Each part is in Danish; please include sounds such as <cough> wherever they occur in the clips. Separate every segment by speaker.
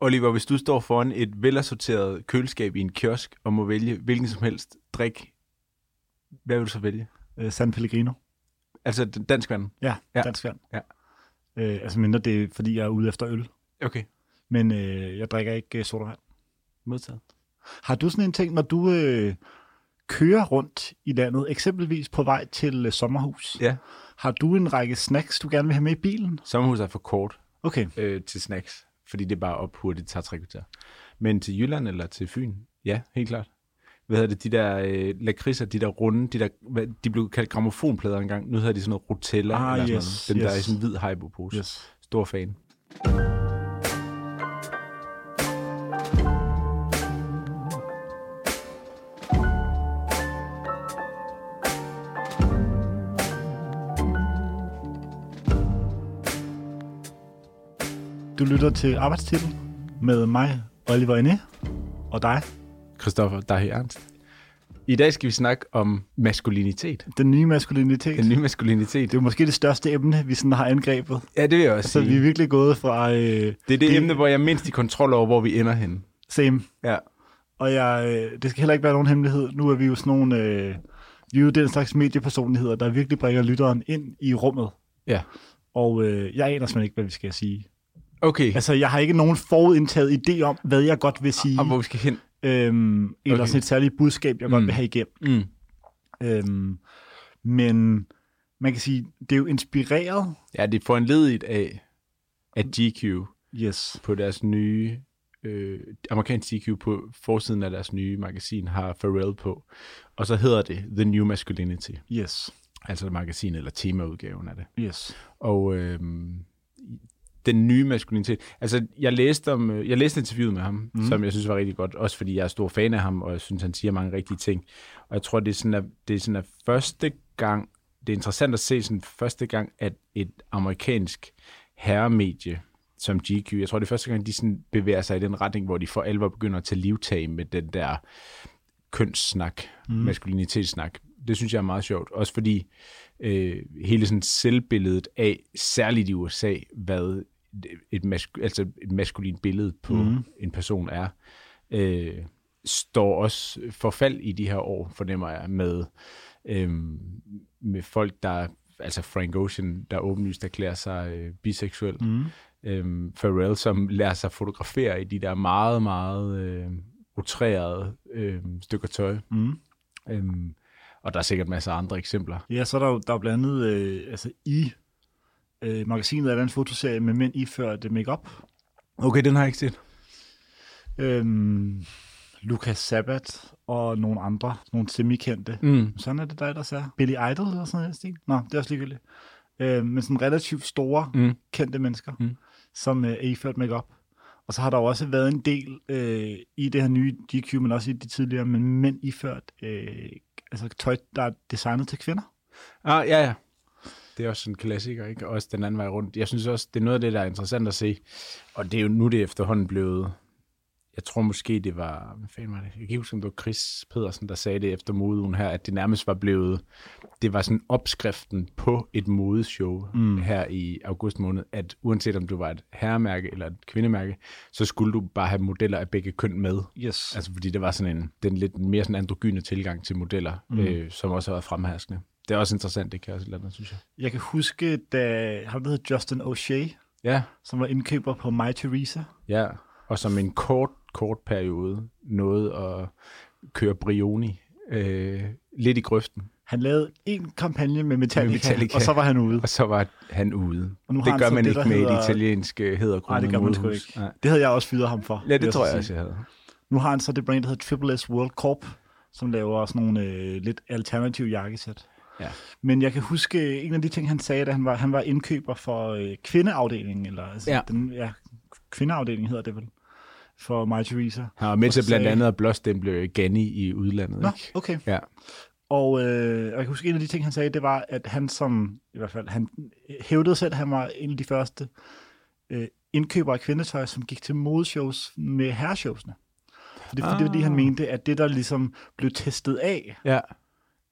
Speaker 1: Oliver, hvis du står foran et velassorteret køleskab i en kiosk og må vælge hvilken som helst drik, hvad vil du så vælge?
Speaker 2: Øh, San Pellegrino.
Speaker 1: Altså den- dansk vand?
Speaker 2: Ja,
Speaker 1: Ja.
Speaker 2: ja. dansk vand.
Speaker 1: Ja.
Speaker 2: Øh, altså mindre det, er, fordi jeg er ude efter øl.
Speaker 1: Okay,
Speaker 2: Men øh, jeg drikker ikke øh, sodavand.
Speaker 1: modtaget.
Speaker 2: Har du sådan en ting, når du øh, kører rundt i landet, eksempelvis på vej til øh, sommerhus?
Speaker 1: Ja,
Speaker 2: Har du en række snacks, du gerne vil have med i bilen?
Speaker 1: sommerhuset er for kort
Speaker 2: Okay,
Speaker 1: øh, til snacks, fordi det er bare op hurtigt, det tager tre kvarter. Men til Jylland eller til Fyn, ja, helt klart. Hvad hedder det, de der øh, lakridser, de der runde, de der, hvad, de blev kaldt gramofonplader engang, nu hedder de sådan noget rotella,
Speaker 2: Ah,
Speaker 1: eller
Speaker 2: yes,
Speaker 1: sådan noget. dem der er i
Speaker 2: yes.
Speaker 1: sådan en hvid haibopose.
Speaker 2: yes.
Speaker 1: Stor fan.
Speaker 2: Du lytter til arbejdstitel med mig, Oliver Inde, og dig,
Speaker 1: Christoffer Dahi Ernst. I dag skal vi snakke om maskulinitet.
Speaker 2: den nye maskulinitet.
Speaker 1: Den nye maskulinitet.
Speaker 2: Det er jo måske det største emne, vi sådan har angrebet.
Speaker 1: Ja, det vil jeg også
Speaker 2: Så vi
Speaker 1: sige.
Speaker 2: er virkelig gået fra øh,
Speaker 1: Det er det emne, hvor jeg er mindst i kontrol over, hvor vi ender henne.
Speaker 2: same.
Speaker 1: Ja.
Speaker 2: Og jeg, øh, det skal heller ikke være nogen hemmelighed. Nu er vi jo sådan nogle, øh, vi er jo den slags mediepersonligheder, der virkelig bringer lytteren ind i rummet.
Speaker 1: Ja.
Speaker 2: Og øh, jeg aner simpelthen ikke, hvad vi skal sige.
Speaker 1: Okay,
Speaker 2: Altså, jeg har ikke nogen forudindtaget idé om, hvad jeg godt vil sige.
Speaker 1: og hvor vi skal hen.
Speaker 2: Øhm, eller
Speaker 1: Okay.
Speaker 2: sådan et særligt budskab, jeg
Speaker 1: Mm.
Speaker 2: mm. godt vil have igennem.
Speaker 1: Mm.
Speaker 2: Øhm, men man kan sige, det er jo inspireret.
Speaker 1: Ja, det er foranledet af, at GQ
Speaker 2: Yes.
Speaker 1: på deres nye, øh, amerikansk GQ på forsiden af deres nye magasin har Pharrell på. Og så hedder det The New Masculinity,
Speaker 2: Yes.
Speaker 1: altså magasin eller temaudgaven af det.
Speaker 2: Yes.
Speaker 1: og øh, den nye maskulinitet. Altså, jeg læste, om, øh, jeg læste interviewet med ham, mm. som jeg synes var rigtig godt, også fordi jeg er stor fan af ham, og jeg synes, han siger mange rigtige ting. Og jeg tror, det er sådan, at, det er sådan, at første gang, det er interessant at se sådan første gang, at et amerikansk herremedie, som GQ, jeg tror, det er første gang, de sådan bevæger sig i den retning, hvor de for alvor begynder at tage livtag med den der kønssnak, mm. maskulinitetssnak. Det synes jeg er meget sjovt. Også fordi øh, hele sådan selvbilledet af, særligt i USA, hvad et, mask- altså et maskulin billede på mm. en person er, øh, står også for fald i de her år, fornemmer jeg, med, øh, med folk, der altså Frank Ocean, der åbenlyst erklærer sig øh, biseksuel. Mm. Øhm, Pharrell, som lader sig fotografere i de der meget, meget øh, utrærede øh, stykker tøj.
Speaker 2: Mm.
Speaker 1: Øhm, og der er sikkert masser af andre eksempler.
Speaker 2: Ja, så er der jo der er blandt andet, øh, altså i øh, magasinet er der en fotoserie med mænd iført øh, makeup.
Speaker 1: Okay, den har jeg ikke set.
Speaker 2: Øhm, Lucas Sabat og nogle andre, nogle semikendte.
Speaker 1: Mm.
Speaker 2: Sådan er det, der ellers er. Billy Idol eller sådan noget. i den stil. Nå, det er også ligegyldigt. Øh, men sådan relativt store,
Speaker 1: Mm.
Speaker 2: mm. kendte mennesker,
Speaker 1: Mm.
Speaker 2: mm. som øh, er iført makeup. Og så har der jo også været en del øh, i det her nye GQ, men også i de tidligere, men mænd iført øh, altså tøj, der er designet til kvinder.
Speaker 1: Ah, ja, ja. Det er også en klassiker, ikke? Også den anden vej rundt. Jeg synes også, det er noget af det, der er interessant at se. Og det er jo nu, det er efterhånden blevet... Jeg tror måske, det var... Hvad fanden var det? Jeg kan ikke huske, om det var Chris Pedersen, der sagde det efter modeugen her, at det nærmest var blevet... Det var sådan opskriften på et modeshow mm. her i august måned, at uanset om du var et herremærke eller et kvindemærke, så skulle du bare have modeller af begge køn med.
Speaker 2: Yes.
Speaker 1: Altså fordi det var sådan en, den lidt mere sådan androgyne tilgang til modeller, mm. øh, som også har været fremherskende. Det er også interessant, det kan jeg også et eller andet, synes jeg.
Speaker 2: Jeg kan huske, da han hedder Justin O'Shea,
Speaker 1: Ja,
Speaker 2: som var indkøber på My Theresa.
Speaker 1: ja. Og som en kort, kort periode nåede at køre Brioni øh, lidt i grøften,
Speaker 2: Han lavede en kampagne med Metallica,
Speaker 1: Med Metallica.
Speaker 2: og så var han ude.
Speaker 1: og så var han ude.
Speaker 2: Og nu har
Speaker 1: det
Speaker 2: han
Speaker 1: gør
Speaker 2: så
Speaker 1: man
Speaker 2: det,
Speaker 1: ikke
Speaker 2: der
Speaker 1: med
Speaker 2: hedder-
Speaker 1: et italiensk hedder
Speaker 2: Nej, det gør man sgu ikke.
Speaker 1: Nej.
Speaker 2: Det havde jeg også fyret ham for.
Speaker 1: Ja,
Speaker 2: vil
Speaker 1: det tror
Speaker 2: så
Speaker 1: jeg
Speaker 2: sige.
Speaker 1: også, jeg havde.
Speaker 2: Nu har han så det brand, der hedder Triple S World Corp, som laver sådan nogle øh, lidt alternative jakkesæt.
Speaker 1: Ja.
Speaker 2: Men jeg kan huske øh, en af de ting, han sagde, da han var, han var indkøber for øh, kvindeafdelingen, eller altså,
Speaker 1: Ja.
Speaker 2: Den, ja, kvindeafdelingen hedder det vel, for My Theresa.
Speaker 1: Han var med
Speaker 2: Og
Speaker 1: til
Speaker 2: så
Speaker 1: blandt
Speaker 2: sagde-
Speaker 1: andet at blåstemple Ganni i udlandet.
Speaker 2: Nå,
Speaker 1: ikke?
Speaker 2: okay.
Speaker 1: Ja.
Speaker 2: Og øh, jeg kan huske, en af de ting, han sagde, det var, at han som, i hvert fald, han hævdede selv, at han var en af de første øh, indkøbere af kvindetøj, som gik til modeshows med herreshowsene. For det, ah. det var det, han mente, at det, der ligesom blev testet af,
Speaker 1: ja.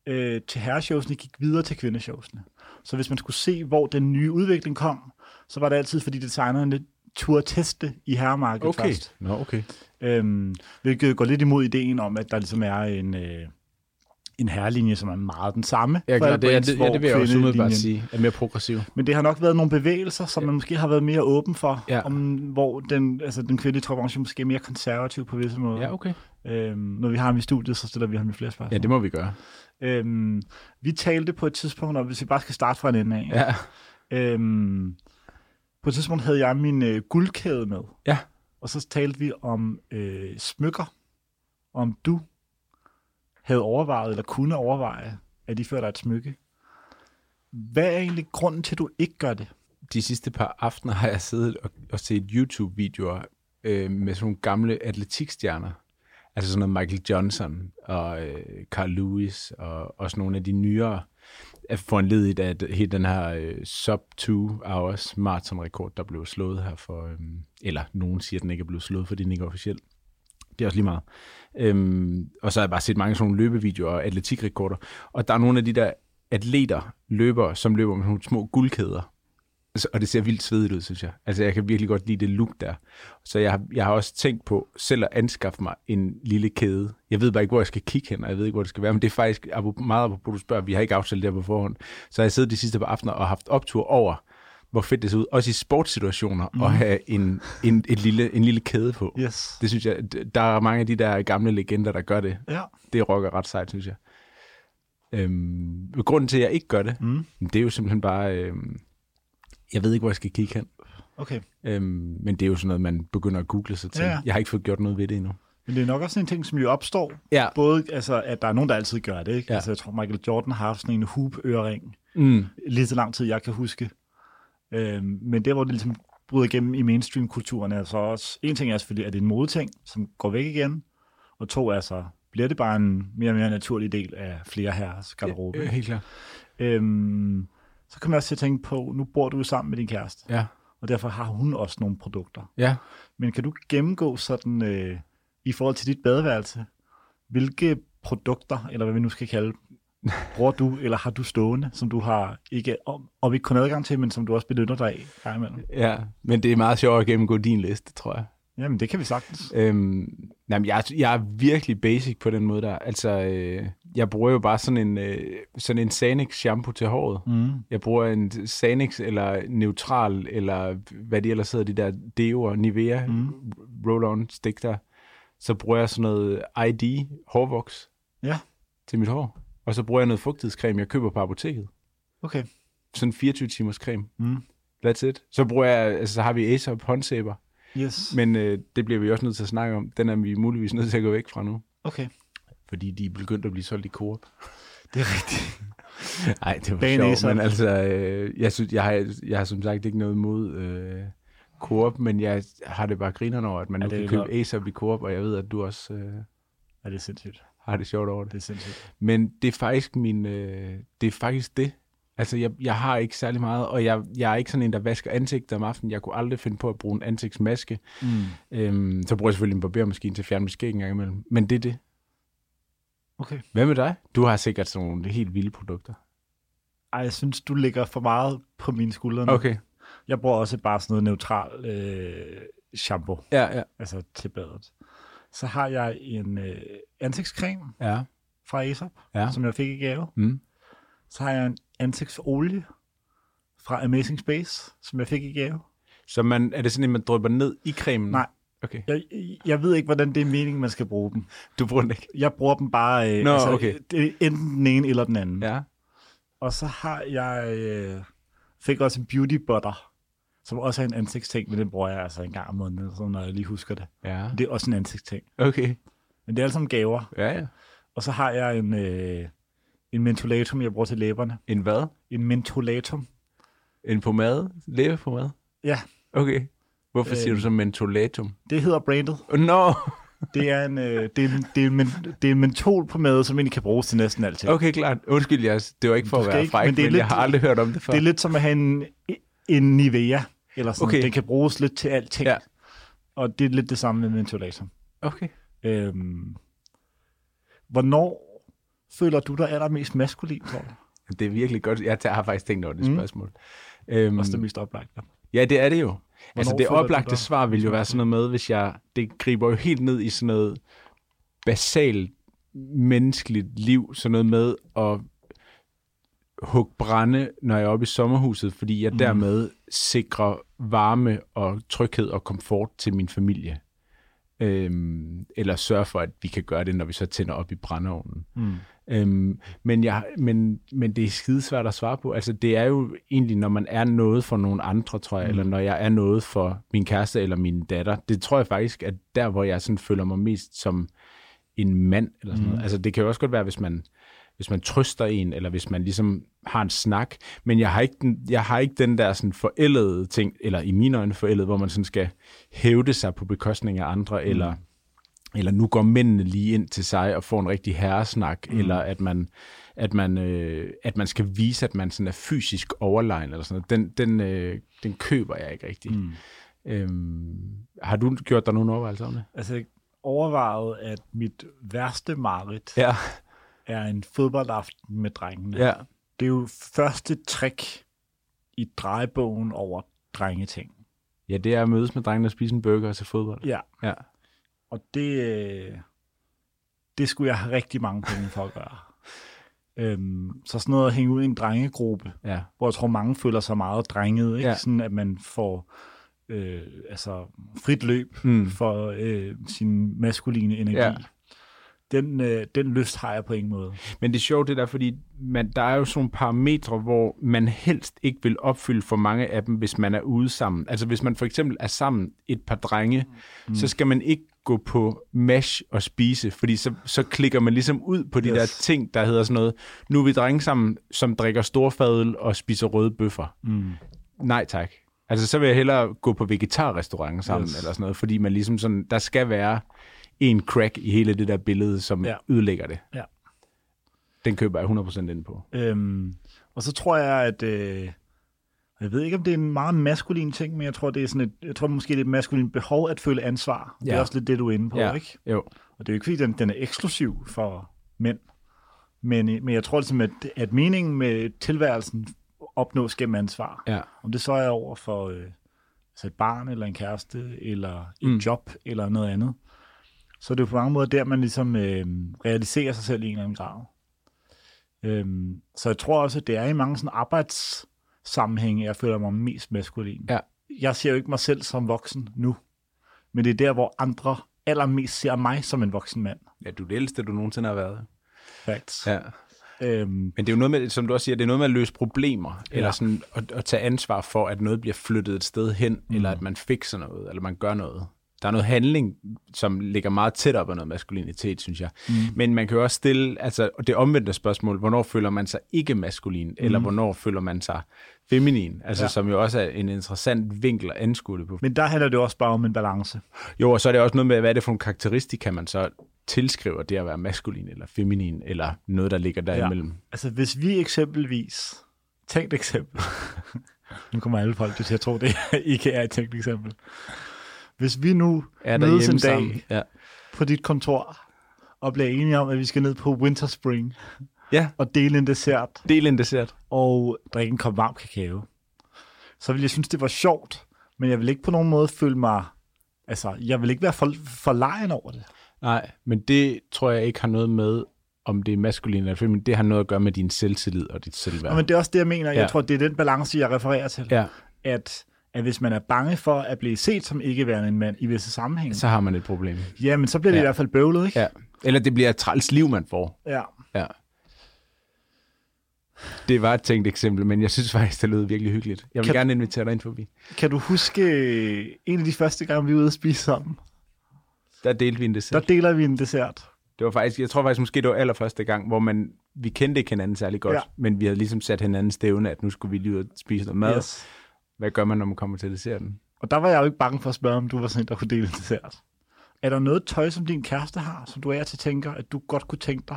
Speaker 2: øh, til herreshowsene gik videre til kvindeshowsene. Så hvis man skulle se, hvor den nye udvikling kom, så var det altid, fordi designerne turde teste i herremarkedet
Speaker 1: Okay.
Speaker 2: først.
Speaker 1: Nå, okay.
Speaker 2: Øhm, hvilket går lidt imod ideen om, at der ligesom er en, øh, en herrelinje, som er meget den samme.
Speaker 1: Ja,
Speaker 2: for
Speaker 1: klar,
Speaker 2: alle
Speaker 1: det, ja,
Speaker 2: brands,
Speaker 1: det, ja,
Speaker 2: hvor
Speaker 1: det vil jeg også
Speaker 2: kvindelinjen-
Speaker 1: umiddelbart sige, er mere progressiv.
Speaker 2: Men det har nok været nogle bevægelser, som man måske har været mere åben for,
Speaker 1: Ja.
Speaker 2: om, hvor den, altså, den kvindelige tøjbranche måske er mere konservativ på visse måder.
Speaker 1: Ja, okay.
Speaker 2: Øhm, når vi har ham i studiet, så stiller vi ham i flere spørgsmål.
Speaker 1: Ja, det må vi gøre.
Speaker 2: Øhm, vi talte på et tidspunkt, og hvis vi bare skal starte fra en ende af.
Speaker 1: Ja.
Speaker 2: Øhm, på et tidspunkt havde jeg min øh, guldkæde med.
Speaker 1: Ja.
Speaker 2: Og så talte vi om øh, smykker. Om du havde overvejet, eller kunne overveje, at de fører dig et smykke. Hvad er egentlig grunden til, at du ikke gør det?
Speaker 1: de sidste par aftener har jeg siddet og, og set YouTube-videoer øh, med sådan nogle gamle atletikstjerner. Altså sådan noget Michael Johnson og øh, Carl Lewis og også nogle af de nyere er foranledet af at hele den her øh, sub-2 hours maratonrekord, der blev slået her for, øh, eller nogen siger, at den ikke er blevet slået, fordi den ikke er officiel. Det er også lige meget. Øhm, og så har jeg bare set mange sådan nogle løbevideoer og atletikrekorder. Og der er nogle af de der atleter, løbere, som løber med sådan nogle små guldkæder. Altså, og det ser vildt svedigt ud, synes jeg. Altså, jeg kan virkelig godt lide det look der. Så jeg, har- jeg har også tænkt på selv at anskaffe mig en lille kæde. Jeg ved bare ikke, hvor jeg skal kigge hen, og jeg ved ikke, hvor det skal være. Men det er faktisk apropos- meget apropos, du spørger. Vi har ikke aftalt det her på forhånd. Så har jeg siddet de sidste par aftener og haft optur over, hvor fedt det ser ud. Også i sportssituationer, mm. at have en, en, et lille, en lille kæde på.
Speaker 2: Yes.
Speaker 1: Det synes jeg, d- der er mange af de der gamle legender, der gør det.
Speaker 2: Ja.
Speaker 1: Det rocker ret sejt, synes jeg. Øhm, grunden til, at jeg ikke gør det,
Speaker 2: Mm.
Speaker 1: det er jo simpelthen bare, øhm, jeg ved ikke, hvor jeg skal kigge hen.
Speaker 2: Okay.
Speaker 1: Øhm, men det er jo sådan noget, man begynder at google sig til.
Speaker 2: Ja, ja.
Speaker 1: Jeg har ikke fået gjort noget ved det endnu.
Speaker 2: Men det er nok også sådan en ting, som jo opstår.
Speaker 1: Ja.
Speaker 2: Både, altså, at der er nogen, der altid gør det. Ikke?
Speaker 1: Ja.
Speaker 2: Ja. Altså, jeg tror, Michael Jordan har haft sådan en hoop-øring.
Speaker 1: Mm.
Speaker 2: lige så lang tid, jeg kan huske. Øhm, men der, hvor det ligesom bryder igennem i mainstream-kulturen, er så også, en ting er selvfølgelig, at det er en modeting, som går væk igen, og to er så, bliver det bare en mere og mere naturlig del af flere herres garderobe.
Speaker 1: Øh,
Speaker 2: Øh.
Speaker 1: helt klart.
Speaker 2: Øhm, så kan man også til at tænke på, nu bor du jo sammen med din kæreste,
Speaker 1: Ja.
Speaker 2: og derfor har hun også nogle produkter.
Speaker 1: Ja.
Speaker 2: Men kan du gennemgå sådan, øh, i forhold til dit badeværelse, hvilke produkter, eller hvad vi nu skal kalde dem, bruger du, eller har du stående, som du har ikke, om, om ikke kun adgang til, men som du også benytter dig af gang imellem?
Speaker 1: ja. Men det er meget sjovt at gennemgå din liste, tror jeg.
Speaker 2: Jamen, det kan vi sagtens.
Speaker 1: Øhm, nej, men jeg, jeg er virkelig basic på den måde der. Altså, øh, jeg bruger jo bare sådan en, øh, sådan en Sanix shampoo til håret.
Speaker 2: Mm.
Speaker 1: Jeg bruger en Sanix eller Neutral, eller hvad de ellers hedder, de der Deo og Nivea mm. roll-on stik der. Så bruger jeg sådan noget ID hårvoks
Speaker 2: Ja,
Speaker 1: til mit hår. Og så bruger jeg noget fugtighedscreme, jeg køber på apoteket.
Speaker 2: okay.
Speaker 1: Sådan 24 timers creme.
Speaker 2: Mm.
Speaker 1: That's it. Så bruger jeg, altså så har vi Aesop håndsæber.
Speaker 2: Yes, men,
Speaker 1: Men øh, det bliver vi også nødt til at snakke om. Den er vi muligvis nødt til at gå væk fra nu.
Speaker 2: okay.
Speaker 1: Fordi de er begyndt at blive solgt i Coop.
Speaker 2: <laughs> Det er rigtigt.
Speaker 1: Nej, det var
Speaker 2: Dagen
Speaker 1: sjovt,
Speaker 2: Aesop.
Speaker 1: men altså, øh, jeg, synes, jeg, har, jeg har som sagt ikke noget imod øh, Coop, men jeg har det bare grinerne over, at man
Speaker 2: Ja,
Speaker 1: nu
Speaker 2: det
Speaker 1: kan
Speaker 2: er
Speaker 1: købe
Speaker 2: godt.
Speaker 1: Aesop i Coop, og jeg ved, at du også øh,
Speaker 2: Ja, det er sindssygt.
Speaker 1: har det sjovt over det.
Speaker 2: Det er sindssygt.
Speaker 1: Men det er faktisk min, øh, det er faktisk det. Altså, jeg, jeg har ikke særlig meget, og jeg, jeg er ikke sådan en, der vasker ansigter om aftenen. Jeg kunne aldrig finde på at bruge en ansigtsmaske.
Speaker 2: Mm.
Speaker 1: Øhm, så bruger jeg selvfølgelig en barbermaskine til at fjerne mit skæg en gang imellem. Men det er det.
Speaker 2: Okay.
Speaker 1: Hvad med dig? Du har sikkert sådan nogle helt vilde produkter.
Speaker 2: Ej, jeg synes, du ligger for meget på mine skuldre nu.
Speaker 1: Okay.
Speaker 2: Jeg bruger også bare sådan noget neutral øh, shampoo,
Speaker 1: Ja, ja.
Speaker 2: altså til badet. Så har jeg en øh, ansigtscreme,
Speaker 1: Ja.
Speaker 2: fra Aesop,
Speaker 1: Ja.
Speaker 2: ja. som jeg fik i gave.
Speaker 1: Mm.
Speaker 2: Så har jeg en ansigtsolie fra Amazing Space, som jeg fik i gave.
Speaker 1: Så man, er det sådan, at man drypper ned i cremen?
Speaker 2: Nej.
Speaker 1: Okay.
Speaker 2: Jeg, jeg ved ikke, hvordan det er meningen, man skal bruge dem.
Speaker 1: Du bruger den ikke?
Speaker 2: Jeg bruger dem bare, øh,
Speaker 1: Nå, okay.
Speaker 2: det er enten den ene eller den anden. Ja.
Speaker 1: Ja.
Speaker 2: Og så har jeg, øh, fik også en beauty butter, som også er en ansigtsting, men den bruger jeg altså en gang om måneden, så når jeg lige husker det.
Speaker 1: Ja.
Speaker 2: Det er også en ansigtsting.
Speaker 1: Okay.
Speaker 2: Men det er alle sammen gaver.
Speaker 1: Ja, ja.
Speaker 2: Og så har jeg en, øh, en mentolatum, jeg bruger til læberne.
Speaker 1: En hvad?
Speaker 2: En mentolatum.
Speaker 1: En pomade? Læbepomade?
Speaker 2: Ja,
Speaker 1: Okay. Hvorfor øh. siger
Speaker 2: Øh.
Speaker 1: du så mentolatum?
Speaker 2: det hedder brandet.
Speaker 1: Oh,
Speaker 2: <laughs>
Speaker 1: no.
Speaker 2: Det er en, øh, det er en, det er en, men- det er en mentol på mad, som egentlig kan bruges til næsten alting. Okay.
Speaker 1: Okay, klart. Undskyld, jeg, det var ikke for
Speaker 2: Du
Speaker 1: at
Speaker 2: skal
Speaker 1: være
Speaker 2: ikke,
Speaker 1: fræk, men,
Speaker 2: men det er
Speaker 1: men jeg
Speaker 2: lidt-
Speaker 1: har aldrig hørt om det før.
Speaker 2: Det er lidt som at have en, en Nivea, eller sådan.
Speaker 1: Okay.
Speaker 2: Okay. Den kan bruges lidt til alting.
Speaker 1: Ja.
Speaker 2: Ja. Og det er lidt det samme med mentolator.
Speaker 1: Okay.
Speaker 2: Øhm, hvornår føler du dig allermest maskulin, tror du?
Speaker 1: Det er virkelig godt. Jeg tager- har faktisk tænkt over det mm.
Speaker 2: Mm.
Speaker 1: spørgsmål. Øhm,
Speaker 2: Også det mest oplagte.
Speaker 1: Ja, det er det jo. Altså det
Speaker 2: føler du
Speaker 1: oplagte
Speaker 2: dig?
Speaker 1: svar vil jo være sådan noget med, hvis jeg... Det griber jo helt ned i sådan noget basalt menneskeligt liv, sådan noget med at hugge brænde, når jeg er oppe i sommerhuset, fordi jeg dermed sikrer varme og tryghed og komfort til min familie. Øhm, eller sørger for, at vi kan gøre det, når vi så tænder op i brændeovnen.
Speaker 2: Mm.
Speaker 1: Øhm, men, jeg, men, men det er skidesvært at svare på. Altså, det er jo egentlig, når man er noget for nogle andre, tror jeg, mm. eller når jeg er noget for min kæreste eller min datter. Det tror jeg faktisk, at der, hvor jeg sådan føler mig mest som en mand, eller sådan mm. noget. Altså, det kan jo også godt være, hvis man, hvis man trøster en, eller hvis man ligesom har en snak. Men jeg har ikke den, jeg har ikke den der sådan forældede ting, eller i mine øjne forældede, hvor man sådan skal hævde sig på bekostning af andre, mm. eller eller nu går mændene lige ind til sig og får en rigtig herresnak, mm. eller at man, at, man, øh, at man skal vise, at man sådan er fysisk overlegen, eller sådan noget. Den, den, øh, den køber jeg ikke rigtig. Mm. Øhm, har du gjort dig nogen overvejelser om det?
Speaker 2: Altså, jeg overvejede, at mit værste mareridt ja.
Speaker 1: Ja,
Speaker 2: er en fodboldaften med drengene.
Speaker 1: ja.
Speaker 2: Det er jo første trick i drejebogen over drengeting.
Speaker 1: Ja, det er at mødes med drengene og spise en burger og se fodbold.
Speaker 2: Ja,
Speaker 1: Ja.
Speaker 2: og det, øh, det skulle jeg have rigtig mange penge for at gøre. øhm, så sådan noget at hænge ud i en drengegruppe,
Speaker 1: Ja.
Speaker 2: hvor jeg tror, mange føler sig meget drenget. Ikke?
Speaker 1: Ja.
Speaker 2: Ja. Sådan, at man får øh, altså frit løb
Speaker 1: Mm.
Speaker 2: mm. for øh, sin maskuline energi.
Speaker 1: Ja.
Speaker 2: Ja. Den, øh, den lyst har jeg på ingen måde.
Speaker 1: Men det er sjovt det der, fordi man, der er jo sådan nogle parametre, hvor man helst ikke vil opfylde for mange af dem, hvis man er ude sammen. Altså hvis man for eksempel er sammen et par drenge, mm. så skal man ikke gå på mash og spise, fordi så, så klikker man ligesom ud på de yes.
Speaker 2: Yes.
Speaker 1: der ting, der hedder sådan noget, nu er vi drenge sammen, som drikker storfadel og spiser røde bøffer.
Speaker 2: Mm.
Speaker 1: Nej tak. Altså så vil jeg hellere gå på vegetarrestaurant sammen yes.
Speaker 2: Yes.
Speaker 1: eller sådan noget, fordi man ligesom sådan, der skal være en crack i hele det der billede, som ja.
Speaker 2: Ja.
Speaker 1: ødelægger det.
Speaker 2: Ja.
Speaker 1: Den køber jeg 100% ind på.
Speaker 2: Øhm, og så tror jeg, at... Øh, jeg ved ikke, om det er en meget maskulin ting, men jeg tror, det er sådan et, jeg tror måske, det er et maskulin behov at føle ansvar. Ja. Det
Speaker 1: Ja.
Speaker 2: er også lidt det, du er inde på,
Speaker 1: Ja.
Speaker 2: ja. ikke?
Speaker 1: Jo.
Speaker 2: Og det er jo ikke, fordi den, den er eksklusiv for mænd. Men, øh, men jeg tror ligesom, at, at meningen med tilværelsen opnås gennem ansvar.
Speaker 1: Ja.
Speaker 2: Om det så er over for øh, altså et barn, eller en kæreste, eller et
Speaker 1: Mm.
Speaker 2: mm. job, eller noget andet. Så det er jo på mange måder der, man ligesom øh, realiserer sig selv i en eller anden grad. Øhm, så jeg tror også, at det er i mange sådan arbejdssammenhænge, jeg føler mig mest maskulin.
Speaker 1: Ja.
Speaker 2: Jeg ser jo ikke mig selv som voksen nu, men det er der, hvor andre allermest ser mig som en voksen mand.
Speaker 1: ja, du er det ældste, du nogensinde har været.
Speaker 2: Facts.
Speaker 1: Ja.
Speaker 2: Øhm,
Speaker 1: Men det er jo noget med, som du også siger, det er noget med at løse problemer, ja. eller
Speaker 2: Ja.
Speaker 1: sådan at, at, tage ansvar for, at noget bliver flyttet et sted hen, mm. eller at man fikser noget, eller man gør noget. Der er noget handling, som ligger meget tæt op af noget maskulinitet, synes jeg. Mm. Men man kan jo også stille altså, det omvendte spørgsmål, hvornår føler man sig ikke maskulin, eller hvornår føler man sig feminin, altså Mm. ja.
Speaker 2: Ja.
Speaker 1: som jo også er en interessant vinkel at anskue det på.
Speaker 2: men der handler det også bare om en balance.
Speaker 1: Jo, og så er det også noget med, hvad er det for nogle karakteristika, man så tilskriver det at være maskulin eller feminin, eller noget, der ligger derimellem. Ja.
Speaker 2: Altså hvis vi eksempelvis, tænkt eksempel, <laughs> nu kommer alle folk til at tro, det ikke er et tænkt eksempel. Hvis vi nu
Speaker 1: Er der
Speaker 2: mødes en
Speaker 1: hjemme
Speaker 2: dag
Speaker 1: sammen? Ja.
Speaker 2: på dit kontor og bliver enige om, at vi skal ned på Winter Spring
Speaker 1: ja,
Speaker 2: og dele en dessert
Speaker 1: del en dessert.
Speaker 2: og drikke en kop varm kakao, så ville jeg synes, det var sjovt, men jeg vil ikke på nogen måde føle mig, altså jeg vil ikke være for, for lejen over det.
Speaker 1: Nej, men det tror jeg ikke har noget med, om det er maskulin eller feminin. Det har noget at gøre med din selvtillid og dit selvværd.
Speaker 2: Ja. Men det er også det, jeg mener. Jeg
Speaker 1: Ja.
Speaker 2: tror, det er den balance, jeg refererer til.
Speaker 1: Ja,
Speaker 2: At, at hvis man er bange for at blive set som ikke værende en mand i visse sammenhænge, så,
Speaker 1: så har man et problem.
Speaker 2: jamen så bliver det
Speaker 1: Ja.
Speaker 2: i hvert fald bøvlet, ikke?
Speaker 1: Ja. Eller det bliver et træls liv, man får.
Speaker 2: ja.
Speaker 1: Ja. Det var et tænkt eksempel, men jeg synes faktisk, det lød virkelig hyggeligt. Jeg vil
Speaker 2: Kan-
Speaker 1: gerne invitere dig ind forbi.
Speaker 2: Kan du huske øh, en af de første gange, vi var ude at spise sammen?
Speaker 1: Der delte vi en dessert.
Speaker 2: Der deler vi en dessert.
Speaker 1: Det var faktisk, jeg tror faktisk måske, det var allerførste gang, hvor man, vi kendte ikke hinanden særlig godt, ja.
Speaker 2: Ja.
Speaker 1: men vi havde ligesom sat hinanden stævne, at nu skulle vi lige ud og spise noget mad. Yes.
Speaker 2: Yes.
Speaker 1: Hvad gør man, når man kommer til desserten?
Speaker 2: Og der var jeg jo ikke bange for at spørge, om du var sådan en, der kunne dele en dessert. Er der noget tøj, som din kæreste har, som du er til tænker, at du godt kunne tænke dig?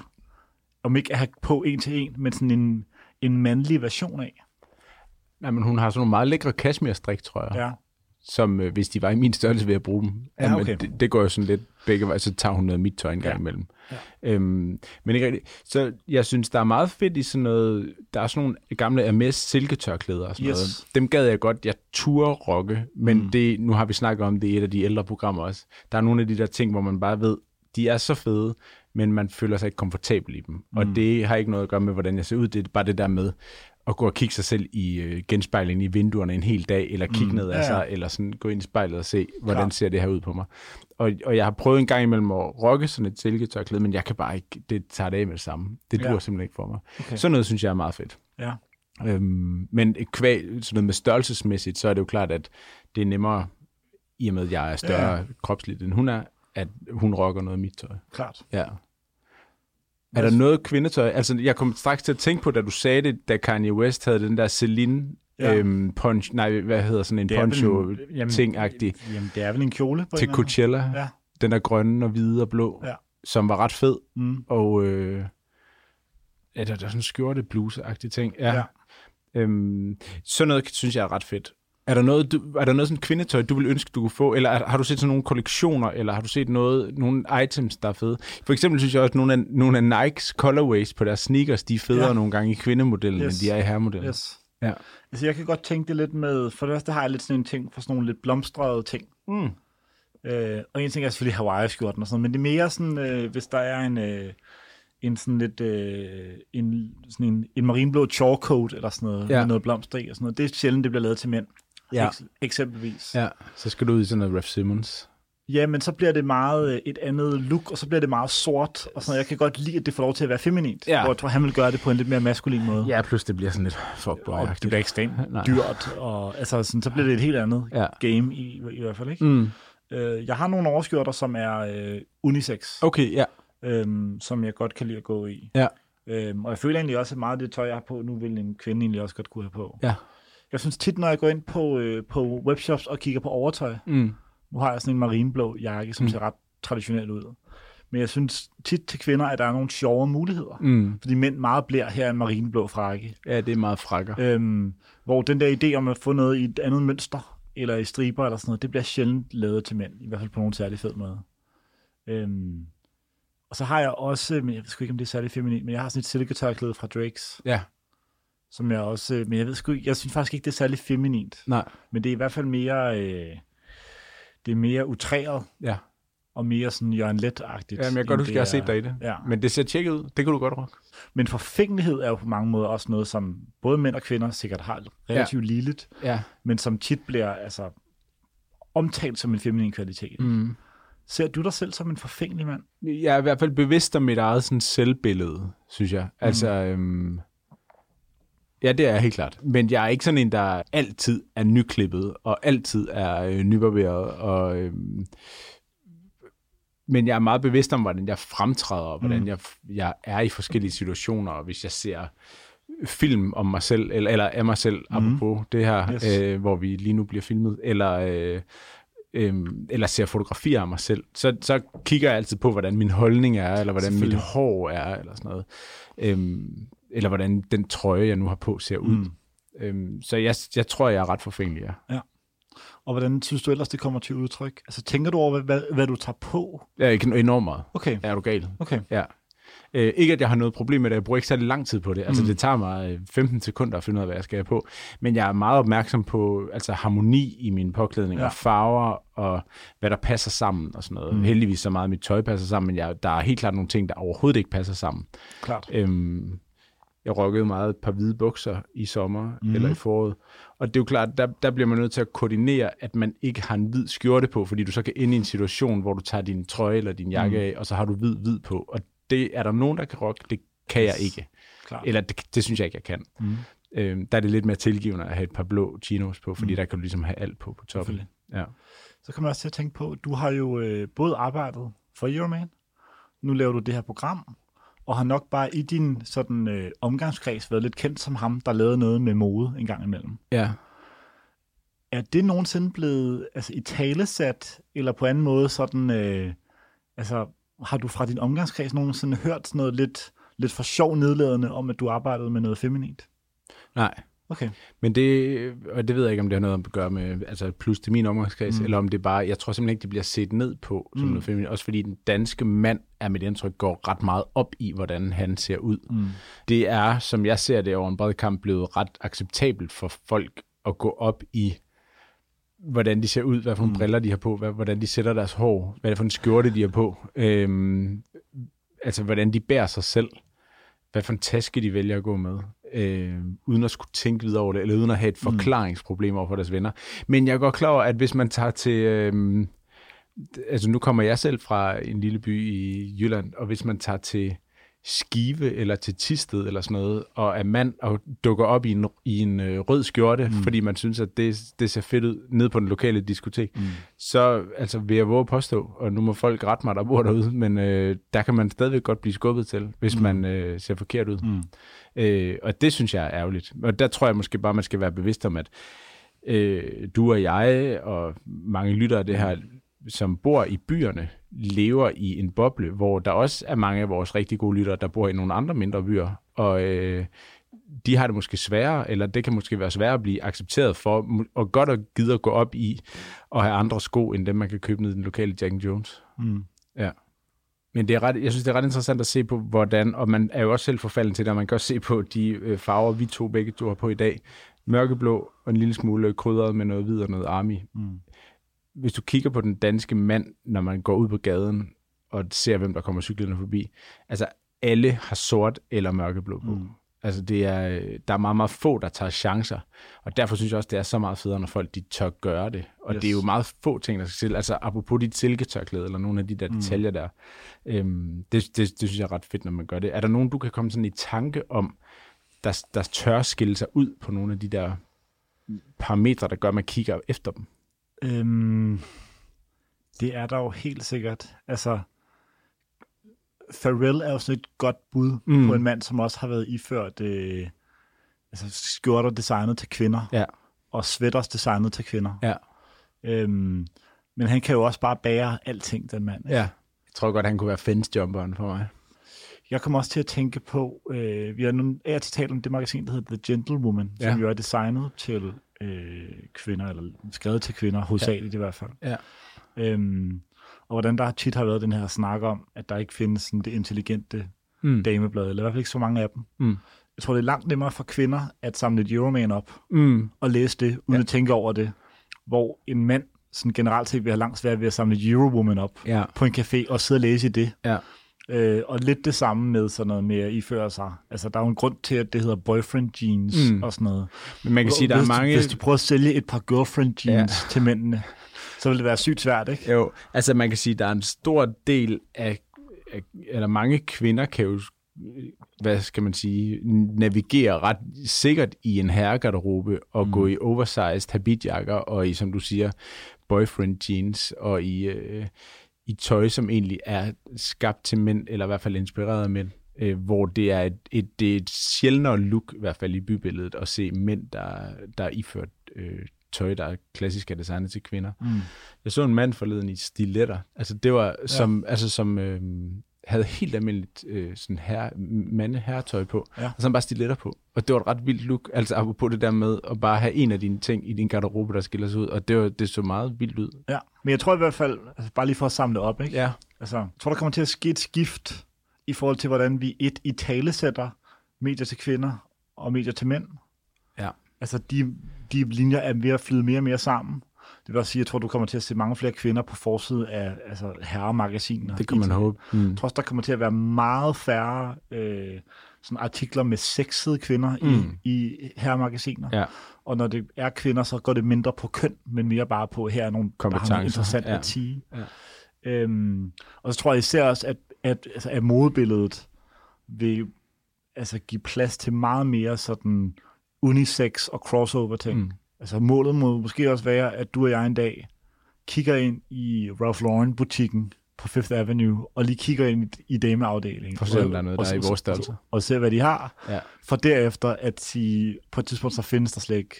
Speaker 2: Om ikke at have på en til en, men sådan en, en mandlig version af.
Speaker 1: Nej, men hun har sådan nogle meget lækre kashmir-strik, tror jeg. Ja. som øh, hvis de var i min størrelse, ville jeg bruge dem.
Speaker 2: Ja,
Speaker 1: Jamen,
Speaker 2: okay.
Speaker 1: det, det går jo sådan lidt begge veje, så tager hun noget af mit tøj en gang
Speaker 2: Ja.
Speaker 1: imellem. Øhm, men ikke rigtigt. Så jeg synes, der er meget fedt i sådan noget, der er sådan nogle gamle Hermes silketørklæder og sådan
Speaker 2: Yes.
Speaker 1: noget. Dem gad jeg godt, jeg turde rokke, men mm. det, nu har vi snakket om det i et af de ældre programmer også. Der er nogle af de der ting, hvor man bare ved, de er så fede, men man føler sig ikke komfortabel i dem. Mm. Og det har ikke noget at gøre med, hvordan jeg ser ud, det er bare det der med at gå og kigge sig selv i øh, genspejlingen i vinduerne en hel dag, eller kigge mm. ned
Speaker 2: Ja,
Speaker 1: af
Speaker 2: ja.
Speaker 1: sig, eller sådan gå ind i spejlet og se, hvordan
Speaker 2: Klart.
Speaker 1: ser det her ud på mig. Og, og jeg har prøvet en gang imellem at rokke sådan et silketørklæde, men jeg kan bare ikke, det tager det af med det samme. Det
Speaker 2: Ja.
Speaker 1: dur ja. simpelthen ikke for mig.
Speaker 2: Okay.
Speaker 1: Okay. Sådan noget synes jeg er meget fedt.
Speaker 2: Ja.
Speaker 1: Øhm, men kvæg, sådan noget med størrelsesmæssigt, så er det jo klart, at det er nemmere, i og med at jeg er større ja. kropsligt end hun er, at hun rocker noget af mit tøj.
Speaker 2: Klart.
Speaker 1: Ja. Er der noget kvindetøj? Altså, jeg kom straks til at tænke på, da du sagde det, da Kanye West havde den der Celine
Speaker 2: Ja.
Speaker 1: ja. øhm, punch, nej, hvad hedder sådan en
Speaker 2: Det er vel en- jamen,
Speaker 1: poncho-ting-agtig
Speaker 2: Jamen, det er vel en kjole på
Speaker 1: til
Speaker 2: en eller anden
Speaker 1: Coachella.
Speaker 2: måde. Ja.
Speaker 1: Den der grønne og hvide og blå,
Speaker 2: Ja.
Speaker 1: som var ret fed.
Speaker 2: Mm.
Speaker 1: Og øh, ja, der, der er sådan en skjorte bluse ting. Ja.
Speaker 2: Ja.
Speaker 1: ja. Øhm, sådan noget synes jeg er ret fedt. Er der noget, du, er der noget sådan kvindetøj, du vil ønske, du kunne få? Eller er, har du set sådan nogle kollektioner, eller har du set noget, nogle items, der er fede? For eksempel synes jeg også, at nogle af, nogle af Nikes colorways på deres sneakers, de er federe
Speaker 2: Ja.
Speaker 1: ja. nogle gange i kvindemodellen,
Speaker 2: Yes.
Speaker 1: yes. end de er i herremodellen. Yes.
Speaker 2: Yes.
Speaker 1: Ja.
Speaker 2: Altså, jeg kan godt tænke det lidt med... For det første har jeg lidt sådan en ting for sådan nogle lidt blomstrede ting.
Speaker 1: Mm.
Speaker 2: Øh, og en ting er selvfølgelig Hawaii-skjorten og sådan noget, men det er mere sådan, øh, hvis der er en, øh, en sådan lidt, øh, en, sådan en, en marinblå chorcoat eller sådan noget, ja.
Speaker 1: Ja.
Speaker 2: med noget blomster i og sådan noget. Det er sjældent, det bliver lavet til mænd,
Speaker 1: Ja.
Speaker 2: eks- eksempelvis. Ja.
Speaker 1: ja, så skal du ud i sådan noget Raf Simmons.
Speaker 2: ja, men så bliver det meget øh, et andet look, og så bliver det meget sort og sådan noget. Jeg kan godt lide, at det får lov til at være feminint, ja.
Speaker 1: Ja.
Speaker 2: hvor jeg tror, han vil gøre det på en lidt mere maskulin måde.
Speaker 1: Ja, plus det bliver sådan lidt
Speaker 2: og det
Speaker 1: fuckboy-agtigt.
Speaker 2: bliver ekstremt
Speaker 1: <laughs> Nej.
Speaker 2: dyrt, og altså, sådan, så bliver det et helt andet ja.
Speaker 1: Ja.
Speaker 2: game i, i hvert fald, ikke?
Speaker 1: Mm.
Speaker 2: Mm. Øh, jeg har nogle overskjorter, som er øh, unisex.
Speaker 1: Okay, ja.
Speaker 2: øhm, som jeg godt kan lide at gå i.
Speaker 1: Ja.
Speaker 2: Øhm, og jeg føler egentlig også, at meget af det tøj, jeg har på nu, vil en kvinde egentlig også godt kunne have på.
Speaker 1: Ja.
Speaker 2: Jeg synes tit, når jeg går ind på, øh, på webshops og kigger på overtøj,
Speaker 1: Mm.
Speaker 2: nu har jeg sådan en marinblå jakke, som mm.
Speaker 1: Mm.
Speaker 2: ser ret traditionel ud. Men jeg synes tit til kvinder, at der er nogle sjove muligheder. Mm.
Speaker 1: Mm.
Speaker 2: Fordi mænd meget bliver her er en marinblå frakke.
Speaker 1: Ja, det er meget frakker.
Speaker 2: Øhm, hvor den der idé om at få noget i et andet mønster, eller i striber eller sådan noget, det bliver sjældent lavet til mænd, i hvert fald på nogen særlig fed måde. Øhm, og så har jeg også, men jeg ved sgu ikke, om det er særlig feminin, men jeg har sådan et silketørklæde fra Drake's,
Speaker 1: Ja,
Speaker 2: som jeg også, men jeg ved sgu ikke, jeg synes faktisk ikke, det er særlig feminint,
Speaker 1: nej.
Speaker 2: men det er i hvert fald mere, øh, det er mere utræret,
Speaker 1: Ja.
Speaker 2: og mere sådan Jørgen Let-agtigt.
Speaker 1: Jamen, jeg kan godt
Speaker 2: end
Speaker 1: huske,
Speaker 2: det
Speaker 1: jeg har
Speaker 2: er-
Speaker 1: set dig i det.
Speaker 2: Ja.
Speaker 1: Men det ser tjekket ud. Det kan du godt rock.
Speaker 2: Men forfængelighed er jo på mange måder også noget, som både mænd og kvinder sikkert har relativt ja. ligeligt,
Speaker 1: Ja.
Speaker 2: men som tit bliver altså, omtalt som en feminin kvalitet. Mm.
Speaker 1: Mm.
Speaker 2: Ser du dig selv som en forfængelig mand?
Speaker 1: Jeg er i hvert fald bevidst om mit eget sådan, selvbillede, synes jeg. Altså, øhm, ja, det er jeg helt klart. Men jeg er ikke sådan en, der altid er nyklippet, og altid er øh, nybarberet. Og, øhm, men jeg er meget bevidst om, hvordan jeg fremtræder, og hvordan
Speaker 2: Mm.
Speaker 1: mm. jeg, jeg er i forskellige situationer, og hvis jeg ser film om mig selv, eller, eller af mig selv,
Speaker 2: Mm.
Speaker 1: apropos det her,
Speaker 2: Yes.
Speaker 1: øh, hvor vi lige nu bliver filmet, eller... Øh, øhm, eller ser fotografier af mig selv, så, så kigger jeg altid på, hvordan min holdning er, eller hvordan mit
Speaker 2: Selvfølgelig.
Speaker 1: hår er, eller sådan noget. Øhm, eller hvordan den trøje, jeg nu har på, ser ud.
Speaker 2: Mm.
Speaker 1: Mm. Øhm, så jeg, jeg tror, jeg er ret forfængelig. Ja.
Speaker 2: Og hvordan synes du ellers, det kommer til udtryk? Altså, tænker du over, hvad, hvad, hvad du tager på?
Speaker 1: Jeg er ikke enormt meget.
Speaker 2: Okay,
Speaker 1: Er du gal?
Speaker 2: okay.
Speaker 1: Ja. Øh, ikke, at jeg har noget problem med det. Jeg bruger ikke særlig lang tid på det. Altså,
Speaker 2: Mm.
Speaker 1: mm. det tager mig øh, 15 sekunder at finde ud af, hvad jeg skal have på. Men jeg er meget opmærksom på altså, harmoni i min påklædning,
Speaker 2: Ja.
Speaker 1: ja. og farver, og hvad der passer sammen og sådan noget.
Speaker 2: Mm.
Speaker 1: Mm. Heldigvis så meget af mit tøj passer sammen, men jeg, der er helt klart nogle ting, der overhovedet ikke passer sammen.
Speaker 2: Klart.
Speaker 1: Øhm, jeg rockede meget et par hvide bukser i sommer
Speaker 2: Mhm.
Speaker 1: mm. eller i foråret. Og det er jo klart, der, der bliver man nødt til at koordinere, at man ikke har en hvid skjorte på, fordi du så kan ende i en situation, hvor du tager din trøje eller din jakke
Speaker 2: Mm.
Speaker 1: mm. af, og så har du hvid hvid på. Og det er der nogen, der kan rocke, det kan jeg
Speaker 2: Yes.
Speaker 1: ikke.
Speaker 2: Klart.
Speaker 1: Eller det, det synes jeg ikke, jeg kan.
Speaker 2: Mm.
Speaker 1: Øhm, der er det lidt mere tilgivende at have et par blå chinos på, fordi mm. der kan du ligesom have alt på på toppen.
Speaker 2: Mhm. Selvfølgelig.
Speaker 1: Ja.
Speaker 2: Så kommer jeg også til at tænke på, du har jo øh, både arbejdet for Euroman, nu laver du det her program, og har nok bare i din sådan øh, omgangskreds været lidt kendt som ham, der lavede noget med mode en gang imellem.
Speaker 1: ja.
Speaker 2: Er det nogensinde blevet altså, i talesat, eller på anden måde sådan, øh, altså har du fra din omgangskreds nogensinde hørt sådan noget lidt, lidt for sjov nedladende om, at du arbejdede med noget feminint?
Speaker 1: Nej.
Speaker 2: Okay.
Speaker 1: Men det, og det ved jeg ikke, om det har noget at gøre med altså plus til min omgangskreds, mm. eller om det bare, jeg tror simpelthen ikke, det bliver set ned på som mm. noget feminin. Også fordi den danske mand, er mit indtryk, går ret meget op i, hvordan han ser ud. Mm. Det er, som jeg ser det over en bred kamp, blevet ret acceptabelt for folk at gå op i hvordan de ser ud, hvad for nogle mm. briller de har på, hvad, hvordan de sætter deres hår, hvad det er for en skjorte, de har på, øhm, altså hvordan de bærer sig selv, hvad for en taske de vælger at gå med, øh, uden at skulle tænke videre over det, eller uden at have et forklaringsproblem over for deres venner. Men jeg er godt klar over, at hvis man tager til... Øh, altså nu kommer jeg selv fra en lille by i Jylland, og hvis man tager til Skive eller til Tisted eller sådan noget, og er mand og dukker op i en, i en øh, rød skjorte, mm. fordi man synes, at det, det ser fedt ud ned på den lokale diskotek, mm. så altså, vil jeg våge at påstå, og nu må folk rette mig, der bor derude, men øh, der kan man stadigvæk godt blive skubbet til, hvis mm. man øh, ser forkert ud. Mm. Øh, og det synes jeg er ærgerligt. Og der tror jeg måske bare, man skal være bevidst om, at øh, du og jeg og mange lyttere af det her som bor i byerne, lever i en boble, hvor der også er mange af vores rigtig gode lyttere, der bor i nogle andre mindre byer, og øh, de har det måske sværere, eller det kan måske være sværere at blive accepteret for, og godt at gide at gå op i og have andre sko, end dem, man kan købe ned i den lokale Jack Jones. Mm. Ja. Men det er ret, jeg synes, det er ret interessant at se på, hvordan, og man er jo også selv forfalden til det, og man kan også se på de øh, farver, vi to begge to har på i dag. Mørkeblå og en lille smule krydret med noget hvid og noget army. Mm hvis du kigger på den danske mand, når man går ud på gaden og ser, hvem der kommer cyklerne forbi, altså alle har sort eller mørkeblå på. Mm. Altså det er, der er meget, meget få, der tager chancer, og derfor synes jeg også, det er så meget federe, når folk de tør gøre det. Og yes. det er jo meget få ting, der skal til. Altså apropos dit silketørklæde, eller nogle af de der mm. detaljer der, øhm, det, det, det synes jeg er ret fedt, når man gør det. Er der nogen, du kan komme sådan i tanke om, der, der tør skille sig ud på nogle af de der parametre, der gør, at man kigger efter dem?
Speaker 2: Øhm, det er der jo helt sikkert. Altså, Pharrell er jo sådan et godt bud mm. på en mand, som også har været iført øh, altså skjorter designet til kvinder,
Speaker 1: ja.
Speaker 2: og sweaters designet til kvinder.
Speaker 1: Ja.
Speaker 2: Øhm, men han kan jo også bare bære alting, den mand.
Speaker 1: Ikke? Ja, jeg tror godt, han kunne være fencejumperen for mig.
Speaker 2: Jeg kom også til at tænke på, øh, vi har nu af til talt om det magasin, der hedder The Gentlewoman, ja. som jo er designet til øh, kvinder, eller skrevet til kvinder, hovedsageligt ja. i hvert fald.
Speaker 1: Ja.
Speaker 2: Øhm, og hvordan der tit har været den her snak om, at der ikke findes sådan det intelligente mm. dameblad, eller i hvert fald ikke så mange af dem.
Speaker 1: Mm.
Speaker 2: Jeg tror, det er langt nemmere for kvinder at samle et Euroman op
Speaker 1: mm.
Speaker 2: og læse det, uden ja. at tænke over det, hvor en mand sådan generelt set vil have langt svært ved at samle et Eurowoman op
Speaker 1: ja.
Speaker 2: på en café og sidde og læse i det.
Speaker 1: Ja.
Speaker 2: Øh, og lidt det samme med sådan noget med at iføre sig. Altså, der er jo en grund til, at det hedder boyfriend jeans mm. og sådan noget.
Speaker 1: Men man kan sige, der er
Speaker 2: hvis,
Speaker 1: mange...
Speaker 2: Hvis du prøver at sælge et par girlfriend jeans ja. til mændene, så vil det være sygt svært, ikke?
Speaker 1: Jo, altså man kan sige, der er en stor del af, af eller mange kvinder kan jo hvad skal man sige, navigere ret sikkert i en herregarderobe og mm. gå i oversized habitjakker og i, som du siger, boyfriend jeans og i øh, i tøj, som egentlig er skabt til mænd, eller i hvert fald inspireret af mænd, øh, hvor det er et, et, det er et sjældnere look, i hvert fald i bybilledet, at se mænd, der, der er iført øh, tøj, der er klassisk er designet til kvinder.
Speaker 2: Mm.
Speaker 1: Jeg så en mand forleden i stiletter, altså det var som, ja. altså som øh, havde helt almindeligt øh, sådan her, mandeherretøj på,
Speaker 2: ja.
Speaker 1: og så bare stiletter på. Og det var et ret vildt look, altså apropos det der med at bare have en af dine ting i din garderobe, der skiller sig ud, og det, var, det så meget vildt ud.
Speaker 2: Ja, men jeg tror i hvert fald, altså bare lige for at samle det op, ikke?
Speaker 1: Ja.
Speaker 2: Altså, jeg tror, der kommer til at ske et skift i forhold til, hvordan vi et i tale sætter medier til kvinder og medier til mænd.
Speaker 1: Ja.
Speaker 2: Altså, de, de linjer er ved at flyde mere og mere sammen. Det vil også sige, at jeg tror, du kommer til at se mange flere kvinder på forsiden af altså, herremagasiner.
Speaker 1: Det kan man håbe.
Speaker 2: Mm. Jeg tror også, der kommer til at være meget færre øh, sådan artikler med sexede kvinder mm. i, i herremagasiner.
Speaker 1: Ja.
Speaker 2: Og når det er kvinder, så går det mindre på køn, men mere bare på, her er nogle, der har interessant ja. at sige. Ja. Øhm, og så tror jeg især også, at, at, altså, at modebilledet vil altså, give plads til meget mere sådan unisex og crossover ting. Mm. Altså målet må måske også være, at du og jeg en dag kigger ind i Ralph Lauren-butikken på Fifth Avenue, og lige kigger ind i dameafdelingen.
Speaker 1: For at se, om der er noget, der er i vores størrelse.
Speaker 2: Og se, hvad de har.
Speaker 1: Ja.
Speaker 2: For derefter at sige, på et tidspunkt, så findes der slet ikke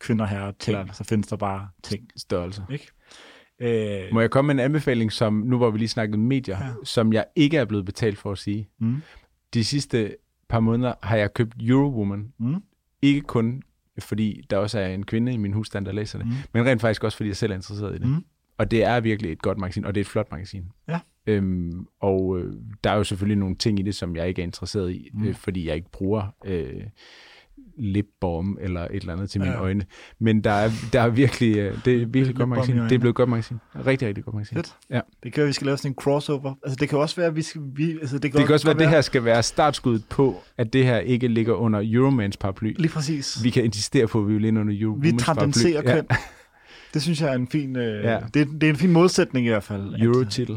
Speaker 2: kvinder her ting, Klart. så findes der bare ting.
Speaker 1: Størrelse.
Speaker 2: Ikke? Øh,
Speaker 1: Må jeg komme med en anbefaling, som nu hvor vi lige snakkede medier, ja. som jeg ikke er blevet betalt for at sige.
Speaker 2: Mm.
Speaker 1: De sidste par måneder har jeg købt Eurowoman.
Speaker 2: Mm.
Speaker 1: Ikke kun fordi der også er en kvinde i min husstand, der læser det,
Speaker 2: Mm.
Speaker 1: mm. men rent faktisk også, fordi jeg selv er interesseret i det.
Speaker 2: Mm.
Speaker 1: Og det er virkelig et godt magasin, og det er et flot magasin.
Speaker 2: Ja.
Speaker 1: Øhm, og øh, der er jo selvfølgelig nogle ting i det, som jeg ikke er interesseret i, mm. øh, fordi jeg ikke bruger øh, lipbalm eller et eller andet til mine
Speaker 2: Ja.
Speaker 1: ja. øjne. Men der er, der er virkelig, øh, det er et virkelig
Speaker 2: Lipbalm
Speaker 1: godt
Speaker 2: i
Speaker 1: magasin. Det er
Speaker 2: øjnene.
Speaker 1: blevet et godt magasin. Rigtig, rigtig godt magasin.
Speaker 2: Fedt.
Speaker 1: Ja.
Speaker 2: Det kan være, vi skal lave sådan en crossover. Altså, det kan også være, at vi skal... Vi, altså, det kan,
Speaker 1: Det kan også være, at det her skal være startskuddet på, at det her ikke ligger under Euromans paraply.
Speaker 2: Lige præcis. Vi,
Speaker 1: Vi kan insistere på, at vi vil ind under Euromans
Speaker 2: vi
Speaker 1: paraply.
Speaker 2: transcenderer
Speaker 1: Ja.
Speaker 2: køn. Det synes jeg er en fin... Øh, ja.
Speaker 1: Ja.
Speaker 2: det, det, er en fin modsætning i hvert fald. at- øh,
Speaker 1: Eurotitel.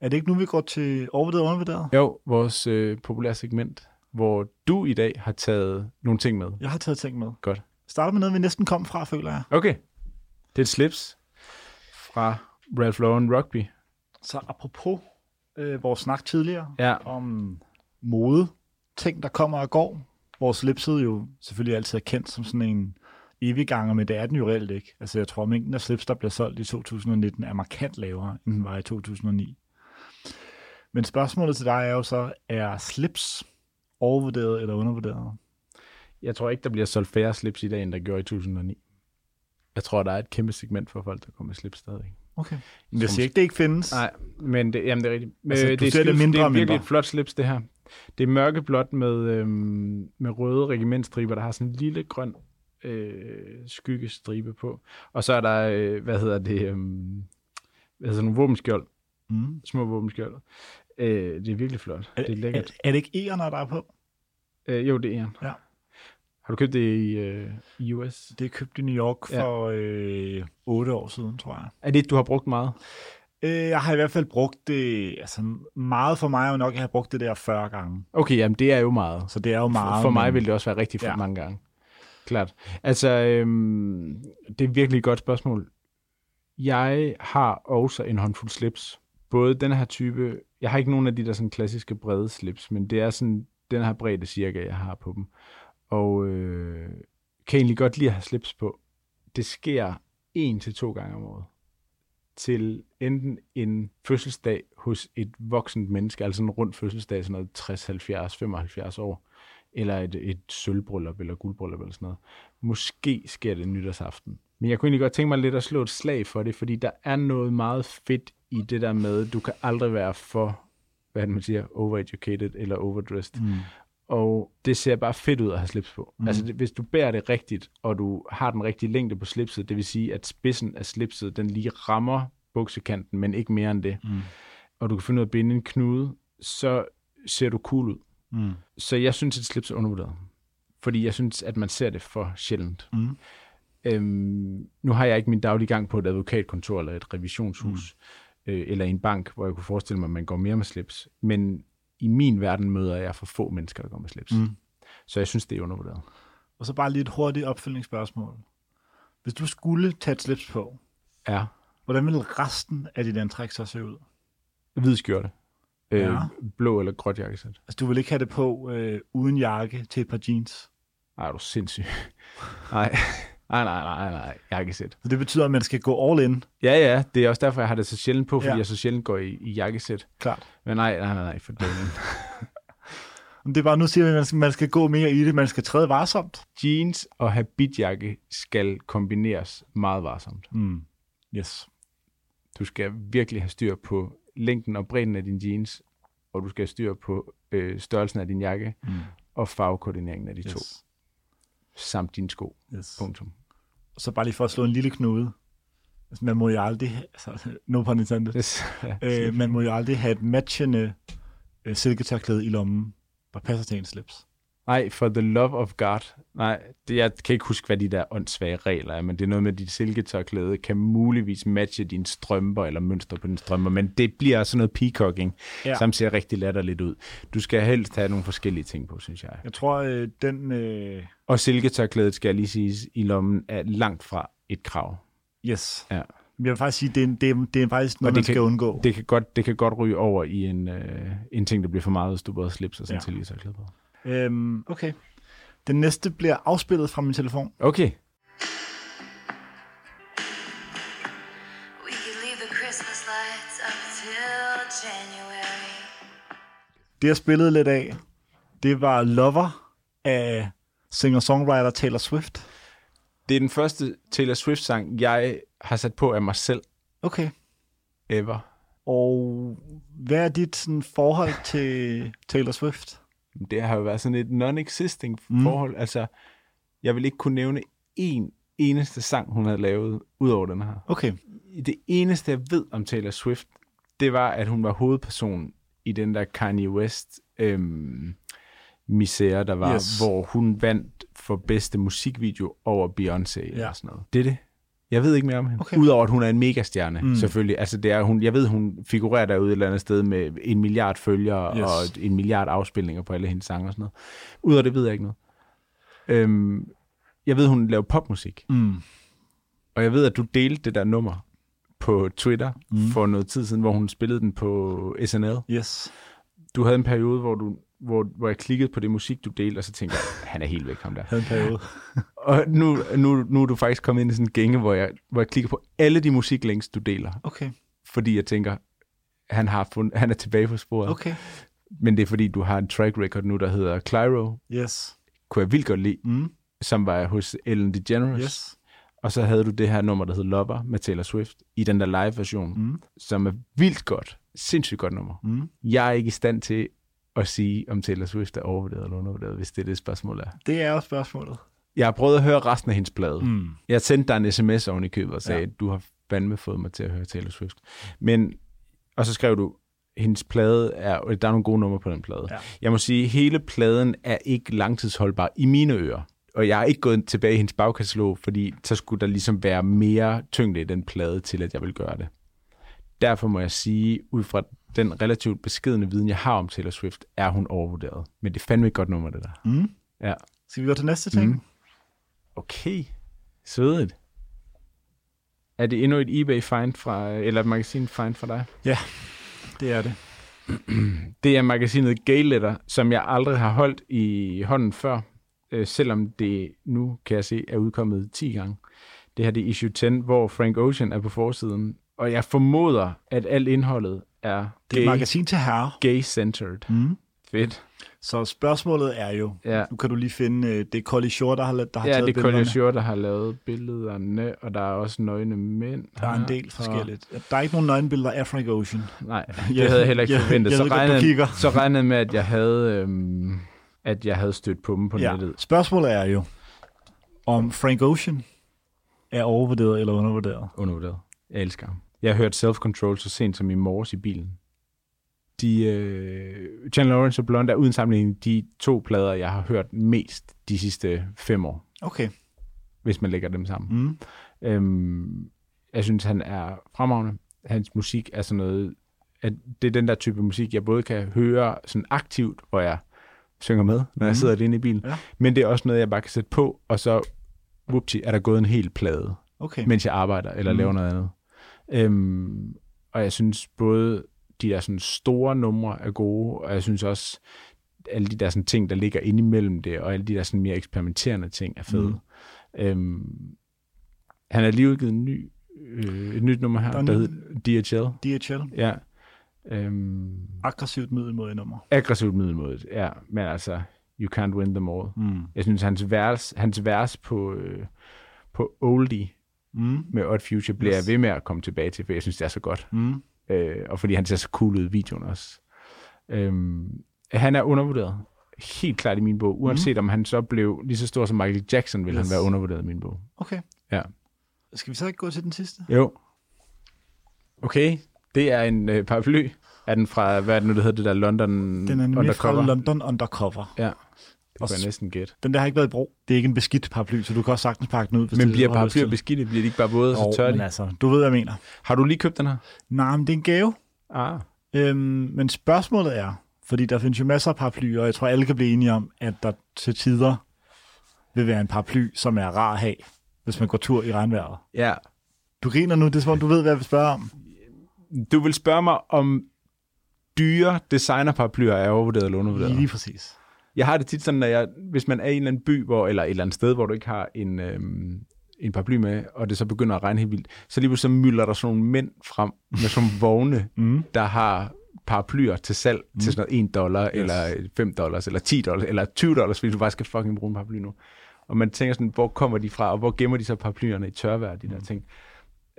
Speaker 2: Er det ikke nu, vi går til overvurderet og undervurderet?
Speaker 1: Jo, vores øh, populære segment, hvor du i dag har taget nogle ting med.
Speaker 2: Jeg har taget ting med.
Speaker 1: Godt.
Speaker 2: Starter med noget, vi næsten kom fra, føler jeg.
Speaker 1: Okay. Det er et slips fra Ralph Lauren Rugby.
Speaker 2: Så apropos øh, vores snak tidligere
Speaker 1: Ja,
Speaker 2: om mode, ting, der kommer og går. Vores slipset jo selvfølgelig altid er kendt som sådan en evig ganger, men det er den jo reelt ikke. Altså jeg tror, at mængden af slips, der bliver solgt i 2019, er markant lavere, end den var i 2009. Men spørgsmålet til dig er jo så, er slips overvurderet eller undervurderet?
Speaker 1: jeg tror ikke, der bliver solgt færre slips i dag, end der gjorde i 2009. Jeg tror, der er et kæmpe segment for folk, der kommer med slips stadig.
Speaker 2: Okay. Men jeg siger ikke, det ikke findes.
Speaker 1: Nej, men det, jamen det er rigtigt.
Speaker 2: Altså,
Speaker 1: Øh,
Speaker 2: du
Speaker 1: et
Speaker 2: ser det
Speaker 1: skidt-
Speaker 2: mindre
Speaker 1: det er
Speaker 2: og
Speaker 1: virkelig
Speaker 2: mindre.
Speaker 1: et flot slips, det her. Det er mørkeblåt med, øhm, med røde regimentstriber, der har sådan en lille grøn øh, skyggestribe på. Og så er der, øh, hvad hedder det, øhm, hvad hedder sådan nogle våbenskjold,
Speaker 2: Mm.
Speaker 1: små våbenskjold. Øh, det er virkelig flot. Det er
Speaker 2: Er,
Speaker 1: lækkert.
Speaker 2: er det ikke æren, der er på?
Speaker 1: Øh, jo, det er en.
Speaker 2: Ja.
Speaker 1: Har du købt det i øh, i US?
Speaker 2: Det købte i New York
Speaker 1: Ja.
Speaker 2: for øh, 8 år siden, tror jeg.
Speaker 1: Er det et, du har brugt meget?
Speaker 2: Øh, jeg har i hvert fald brugt det, altså meget for mig er jo nok, at jeg har brugt det der 40 gange.
Speaker 1: Okay, jamen det er jo meget.
Speaker 2: Så det er jo meget.
Speaker 1: For mig
Speaker 2: men-
Speaker 1: vil det også være rigtig for
Speaker 2: Ja.
Speaker 1: ja. mange gange. Klart. Altså, øhm, det er virkelig et godt spørgsmål. Jeg har også en håndfuld slips. Både den her type, jeg har ikke nogen af de der sådan klassiske brede slips, men det er sådan den her bredde cirka, jeg har på dem. Og øh, kan egentlig godt lide at have slips på. Det sker en til to gange om året til enten en fødselsdag hos et voksent menneske, altså en rund fødselsdag, sådan noget 60, 70, 75 år, eller et, et sølvbryllup eller guldbryllup eller sådan noget. Måske sker det nytårsaften. Men jeg kunne egentlig godt tænke mig lidt at slå et slag for det, fordi der er noget meget fedt i det der med, du kan aldrig være for, hvad er det, man siger, overeducated eller overdressed.
Speaker 2: Mm.
Speaker 1: Og det ser bare fedt ud at have slips på.
Speaker 2: Mhm.
Speaker 1: Mm. Altså det, hvis du bærer det rigtigt, og du har den rigtige længde på slipset, det vil sige, at spidsen af slipset, den lige rammer buksekanten, men ikke mere end det,
Speaker 2: Mm.
Speaker 1: og du kan finde ud af at binde en knude, så ser du cool ud.
Speaker 2: Mm.
Speaker 1: Så jeg synes, et slips er undervurderet. Fordi jeg synes, at man ser det for sjældent.
Speaker 2: Mm.
Speaker 1: Øhm, nu har jeg ikke min daglige gang på et advokatkontor eller et revisionshus, mm. øh, eller i en bank, hvor jeg kunne forestille mig, at man går mere med slips. Men i min verden møder jeg for få mennesker, der går med slips.
Speaker 2: Mm.
Speaker 1: Så jeg synes, det er undervurderet.
Speaker 2: Og så bare lige et hurtigt opfølgningsspørgsmål. Hvis du skulle tage et slips på,
Speaker 1: Ja.
Speaker 2: hvordan ville resten af dit antræk så se ud?
Speaker 1: Hvid skjorte. Øh,
Speaker 2: Ja.
Speaker 1: Blå eller gråt jakkesæt.
Speaker 2: Altså, du vil ikke have det på øh, uden jakke til et par jeans.
Speaker 1: Ej, er du <laughs> sindssyg. nej. nej, nej, nej, nej. Jakkesæt.
Speaker 2: Så det betyder, at man skal gå all in,
Speaker 1: Ja, ja. Det er også derfor, jeg har det så sjældent på, fordi
Speaker 2: Ja.
Speaker 1: ja. jeg så sjældent går i, i jakkesæt.
Speaker 2: klart.
Speaker 1: Men nej, nej, nej, nej. For dælen. <laughs>
Speaker 2: Men det er bare, nu siger vi, at man skal, man skal gå mere i det, man skal træde varsomt.
Speaker 1: jeans og habitjakke skal kombineres meget varsomt.
Speaker 2: Mm. Yes.
Speaker 1: Du skal virkelig have styr på længden og bredden af dine jeans, og du skal have styr på øh, størrelsen af din jakke
Speaker 2: Mm.
Speaker 1: og farvekoordineringen af de yes. to,
Speaker 2: Yes.
Speaker 1: samt dine sko.
Speaker 2: yes.
Speaker 1: Punktum.
Speaker 2: så bare lige for at slå en lille knude. Altså, man må jo aldrig, altså, <laughs> no pun intended,
Speaker 1: Yes.
Speaker 2: øh, man må jo aldrig have et matchende øh, silketørklæde i lommen, der passer til en slips.
Speaker 1: <laughs> Nej, for the love of God. Nej, det, jeg kan ikke huske, hvad de der åndssvage regler er, men det er noget med, at dit silketørklæde kan muligvis matche dine strømper eller mønster på dine strømper, men det bliver sådan noget peacocking,
Speaker 2: Ja.
Speaker 1: ja. som ser rigtig latterligt ud. Du skal helst have nogle forskellige ting på, synes jeg.
Speaker 2: Jeg tror, øh, den, øh,
Speaker 1: Og silketørklædet, skal jeg lige sige, i lommen er langt fra et krav.
Speaker 2: yes.
Speaker 1: Ja.
Speaker 2: Men Jeg vil faktisk sige, det er, en- det er, det er faktisk noget,
Speaker 1: Og det
Speaker 2: man skal
Speaker 1: kan-
Speaker 2: undgå.
Speaker 1: Det kan godt, det kan godt ryge over i en, øh, en ting, der bliver for meget, hvis du både slips og sådan
Speaker 2: Ja.
Speaker 1: ja. silketørklæde på.
Speaker 2: Øhm, okay. Den næste bliver afspillet fra min telefon.
Speaker 1: Okay.
Speaker 3: We could leave the Christmas lights up till January.
Speaker 2: Det, jeg spillede lidt af, det var Lover af singer-songwriter Taylor Swift.
Speaker 1: Det er den første Taylor Swift-sang, jeg har sat på af mig selv
Speaker 2: Okay.
Speaker 1: ever.
Speaker 2: Og hvad er dit sådan, forhold til Taylor Swift?
Speaker 1: Det har jo været sådan et non-existing
Speaker 2: Mm.
Speaker 1: mm. forhold. Altså, jeg vil ikke kunne nævne én eneste sang, hun havde lavet, ud over den her.
Speaker 2: Okay.
Speaker 1: Det eneste, jeg ved om Taylor Swift, det var, at hun var hovedperson i den der Kanye West øhm, misære, der var,
Speaker 2: Yes.
Speaker 1: yes. hvor hun vandt for bedste musikvideo over Beyoncé ja.
Speaker 2: Ja.
Speaker 1: eller sådan noget. Det er det. Jeg ved ikke mere om hende.
Speaker 2: Okay.
Speaker 1: Okay. Udover, at hun er en megastjerne,
Speaker 2: Mm.
Speaker 1: mm. selvfølgelig. Altså, det er, hun, jeg ved, hun figurerer derude et eller andet sted med en milliard følgere
Speaker 2: Yes.
Speaker 1: yes. og en milliard afspilninger på alle hendes sange og sådan noget. Udover det ved jeg ikke noget. Øhm, jeg ved, hun laver popmusik.
Speaker 2: Mm.
Speaker 1: Og jeg ved, at du delte det der nummer på Twitter mm. for noget tid siden, hvor hun spillede den på SNL.
Speaker 2: Yes.
Speaker 1: Du havde en periode, hvor, du, hvor, hvor jeg klikkede på det musik, du delte, og så tænkte jeg, han er helt væk, ham der.
Speaker 2: Havde en periode.
Speaker 1: Og nu, nu, nu er du faktisk kommet ind i sådan en gænge, hvor jeg, hvor jeg klikker på alle de musiklinks, du deler,
Speaker 2: Okay.
Speaker 1: fordi jeg tænker, han, har fund, han er tilbage på sporet.
Speaker 2: Okay.
Speaker 1: Men det er fordi, du har en track record nu, der hedder Clyro,
Speaker 2: Yes.
Speaker 1: kunne jeg vildt godt lide,
Speaker 2: Mm.
Speaker 1: som var hos Ellen DeGeneres.
Speaker 2: Yes.
Speaker 1: Og så havde du det her nummer, der hed Lover med Taylor Swift, i den der live-version,
Speaker 2: Mm.
Speaker 1: som er vildt godt. Sindssygt godt nummer.
Speaker 2: Mm.
Speaker 1: Jeg er ikke i stand til at sige, om Taylor Swift er overvurderet eller undervurderet, hvis det er det spørgsmål er.
Speaker 2: Det er jo spørgsmålet.
Speaker 1: Jeg har prøvet at høre resten af hendes plade. Mm.
Speaker 2: Mm.
Speaker 1: Jeg sendte dig en sms oven i købet og sagde,
Speaker 2: Ja.
Speaker 1: ja. du har fandme fået mig til at høre Taylor Swift. Men, og så skrev du, hendes plade er, der er nogle gode numre på den plade.
Speaker 2: Ja.
Speaker 1: Jeg må sige, hele pladen er ikke langtidsholdbar i mine ører. Og jeg er ikke gået tilbage i hendes bagkatalog, fordi så skulle der ligesom være mere tyngde i den plade til, at jeg vil gøre det. Derfor må jeg sige, ud fra den relativt beskedende viden, jeg har om Taylor Swift, er hun overvurderet. Men det er fandme et godt nummer, det der.
Speaker 2: Mm.
Speaker 1: Ja.
Speaker 2: Skal vi gå til næste ting? Mm.
Speaker 1: Mm. Okay. Svedigt. Er det endnu et eBay find fra, eller et magasin find fra dig?
Speaker 2: Det er det.
Speaker 1: Det er magasinet Gay Letter, som jeg aldrig har holdt i hånden før, øh, selvom det nu, kan jeg se, er udkommet 10 gange. Det her det er issue 10, hvor Frank Ocean er på forsiden, og jeg formoder, at alt indholdet er
Speaker 2: Det er
Speaker 1: gay,
Speaker 2: et magasin til herre.
Speaker 1: gay-centered.
Speaker 2: Mm.
Speaker 1: Fedt.
Speaker 2: Så spørgsmålet er jo,
Speaker 1: Ja.
Speaker 2: nu kan du lige finde, øh, det er Collie Shore, der har, la- der har
Speaker 1: Ja,
Speaker 2: taget
Speaker 1: det er
Speaker 2: billederne.
Speaker 1: Collier Shore, der har lavet billederne, og der er også nøgne mænd.
Speaker 2: Der er en del forskelligt. Der er ikke nogen nøgenbilleder af Frank Ocean.
Speaker 1: Nej, det
Speaker 2: Jeg-
Speaker 1: havde jeg heller ikke
Speaker 2: jeg-
Speaker 1: forventet.
Speaker 2: jeg
Speaker 1: så,
Speaker 2: ved godt, du
Speaker 1: regnede,
Speaker 2: kigger.
Speaker 1: så regnede jeg med, at jeg havde, øhm, at jeg havde stødt på dem på
Speaker 2: Ja.
Speaker 1: nettet.
Speaker 2: Spørgsmålet er jo, om Frank Ocean er overvurderet eller undervurderet.
Speaker 1: undervurderet. Jeg elsker ham. Jeg hørte Self Control så sent som i morges i bilen. De, øh, John Lawrence og Blonde er uden sammenligning de to plader, jeg har hørt mest de sidste fem år,
Speaker 2: Okay.
Speaker 1: hvis man lægger dem sammen.
Speaker 2: Mm.
Speaker 1: Mm. Øhm, jeg synes, han er fremragende. Hans musik er sådan noget, at det er den der type musik, jeg både kan høre sådan aktivt, hvor jeg synger med, når
Speaker 2: Mm.
Speaker 1: jeg sidder inde i bilen,
Speaker 2: Ja.
Speaker 1: men det er også noget, jeg bare kan sætte på, og så whoopty, er der gået en hel plade
Speaker 2: Okay.
Speaker 1: mens jeg arbejder eller
Speaker 2: Mm.
Speaker 1: mm. laver noget andet. Øhm, og jeg synes både de der sådan store numre er gode, og jeg synes også alle de der sådan ting, der ligger ind imellem det, og alle de der sådan mere eksperimenterende ting er fede. Mm.
Speaker 2: Mm.
Speaker 1: Øhm, han har lige udgivet en ny, øh, et nyt nummer her,
Speaker 2: Der
Speaker 1: der,
Speaker 2: er
Speaker 1: der
Speaker 2: en-
Speaker 1: hedder DHL.
Speaker 2: DHL.
Speaker 1: Ja. Øhm,
Speaker 2: Aggressivt middelmodigt nummer.
Speaker 1: aggressivt middelmodigt, ja. Men altså, you can't win them all.
Speaker 2: Mm.
Speaker 1: Jeg synes, hans vers, hans vers på, øh, på Oldie,
Speaker 2: Mm.
Speaker 1: med Odd Future bliver
Speaker 2: Yes.
Speaker 1: yes. jeg ved med at komme tilbage til, for jeg synes, det er så godt.
Speaker 2: Mm.
Speaker 1: Øh, og fordi han ser så cool ud i videoen også. Øhm, han er undervurderet. Helt klart i min bog. Uanset mm. om han så blev lige så stor som Michael Jackson, vil yes.
Speaker 2: Yes.
Speaker 1: han være undervurderet i min bog.
Speaker 2: Okay.
Speaker 1: Ja.
Speaker 2: Skal vi så ikke gå til den sidste?
Speaker 1: Jo. Okay, det er en øh, paraply. Er den fra, hvad er det nu, det hedder, det der London
Speaker 2: Den er nemlig
Speaker 1: Undercover?
Speaker 2: fra London Undercover.
Speaker 1: Ja, det
Speaker 2: Og
Speaker 1: kunne
Speaker 2: s-
Speaker 1: jeg næsten gætte.
Speaker 2: Den der har ikke været i brug. Det er ikke en beskidt paraply, så du kan også sagtens pakke den ud. Hvis
Speaker 1: Men
Speaker 2: det,
Speaker 1: bliver
Speaker 2: du har lyst
Speaker 1: paraplyer
Speaker 2: til.
Speaker 1: beskidte? Bliver de ikke bare våde og
Speaker 2: Jo,
Speaker 1: så tørre?
Speaker 2: men
Speaker 1: de?
Speaker 2: altså, du ved, hvad jeg mener.
Speaker 1: Har du lige købt den her?
Speaker 2: Nej, men det er en gave.
Speaker 1: Ah,
Speaker 2: Øhm, men spørgsmålet er, fordi der findes jo masser af paraplyer, og jeg tror, alle kan blive enige om, at der til tider vil være en paraply, som er rar at have, hvis man går tur i regnvejret.
Speaker 1: ja.
Speaker 2: Du griner nu, det er som om, du ved, hvad jeg vil spørge om.
Speaker 1: Du vil spørge mig, om dyre designerparaplyer er overvurderet eller undervurderet?
Speaker 2: Lige præcis.
Speaker 1: Jeg har det tit sådan, at jeg, hvis man er i en eller anden by, hvor, eller et eller andet sted, hvor du ikke har en, øhm, en paraply med, og det så begynder at regne helt vildt, så lige pludselig så mylder der sådan nogle mænd frem med sådan nogle vogne,
Speaker 2: Mm.
Speaker 1: der har paraplyer til salg mm. til sådan noget 1 dollar, yes. eller 5 dollars, eller 10 dollars, eller 20 dollars, fordi du bare skal fucking bruge en paraply nu. Og man tænker sådan, hvor kommer de fra, og hvor gemmer de så paraplyerne i tørvejr, de der ting.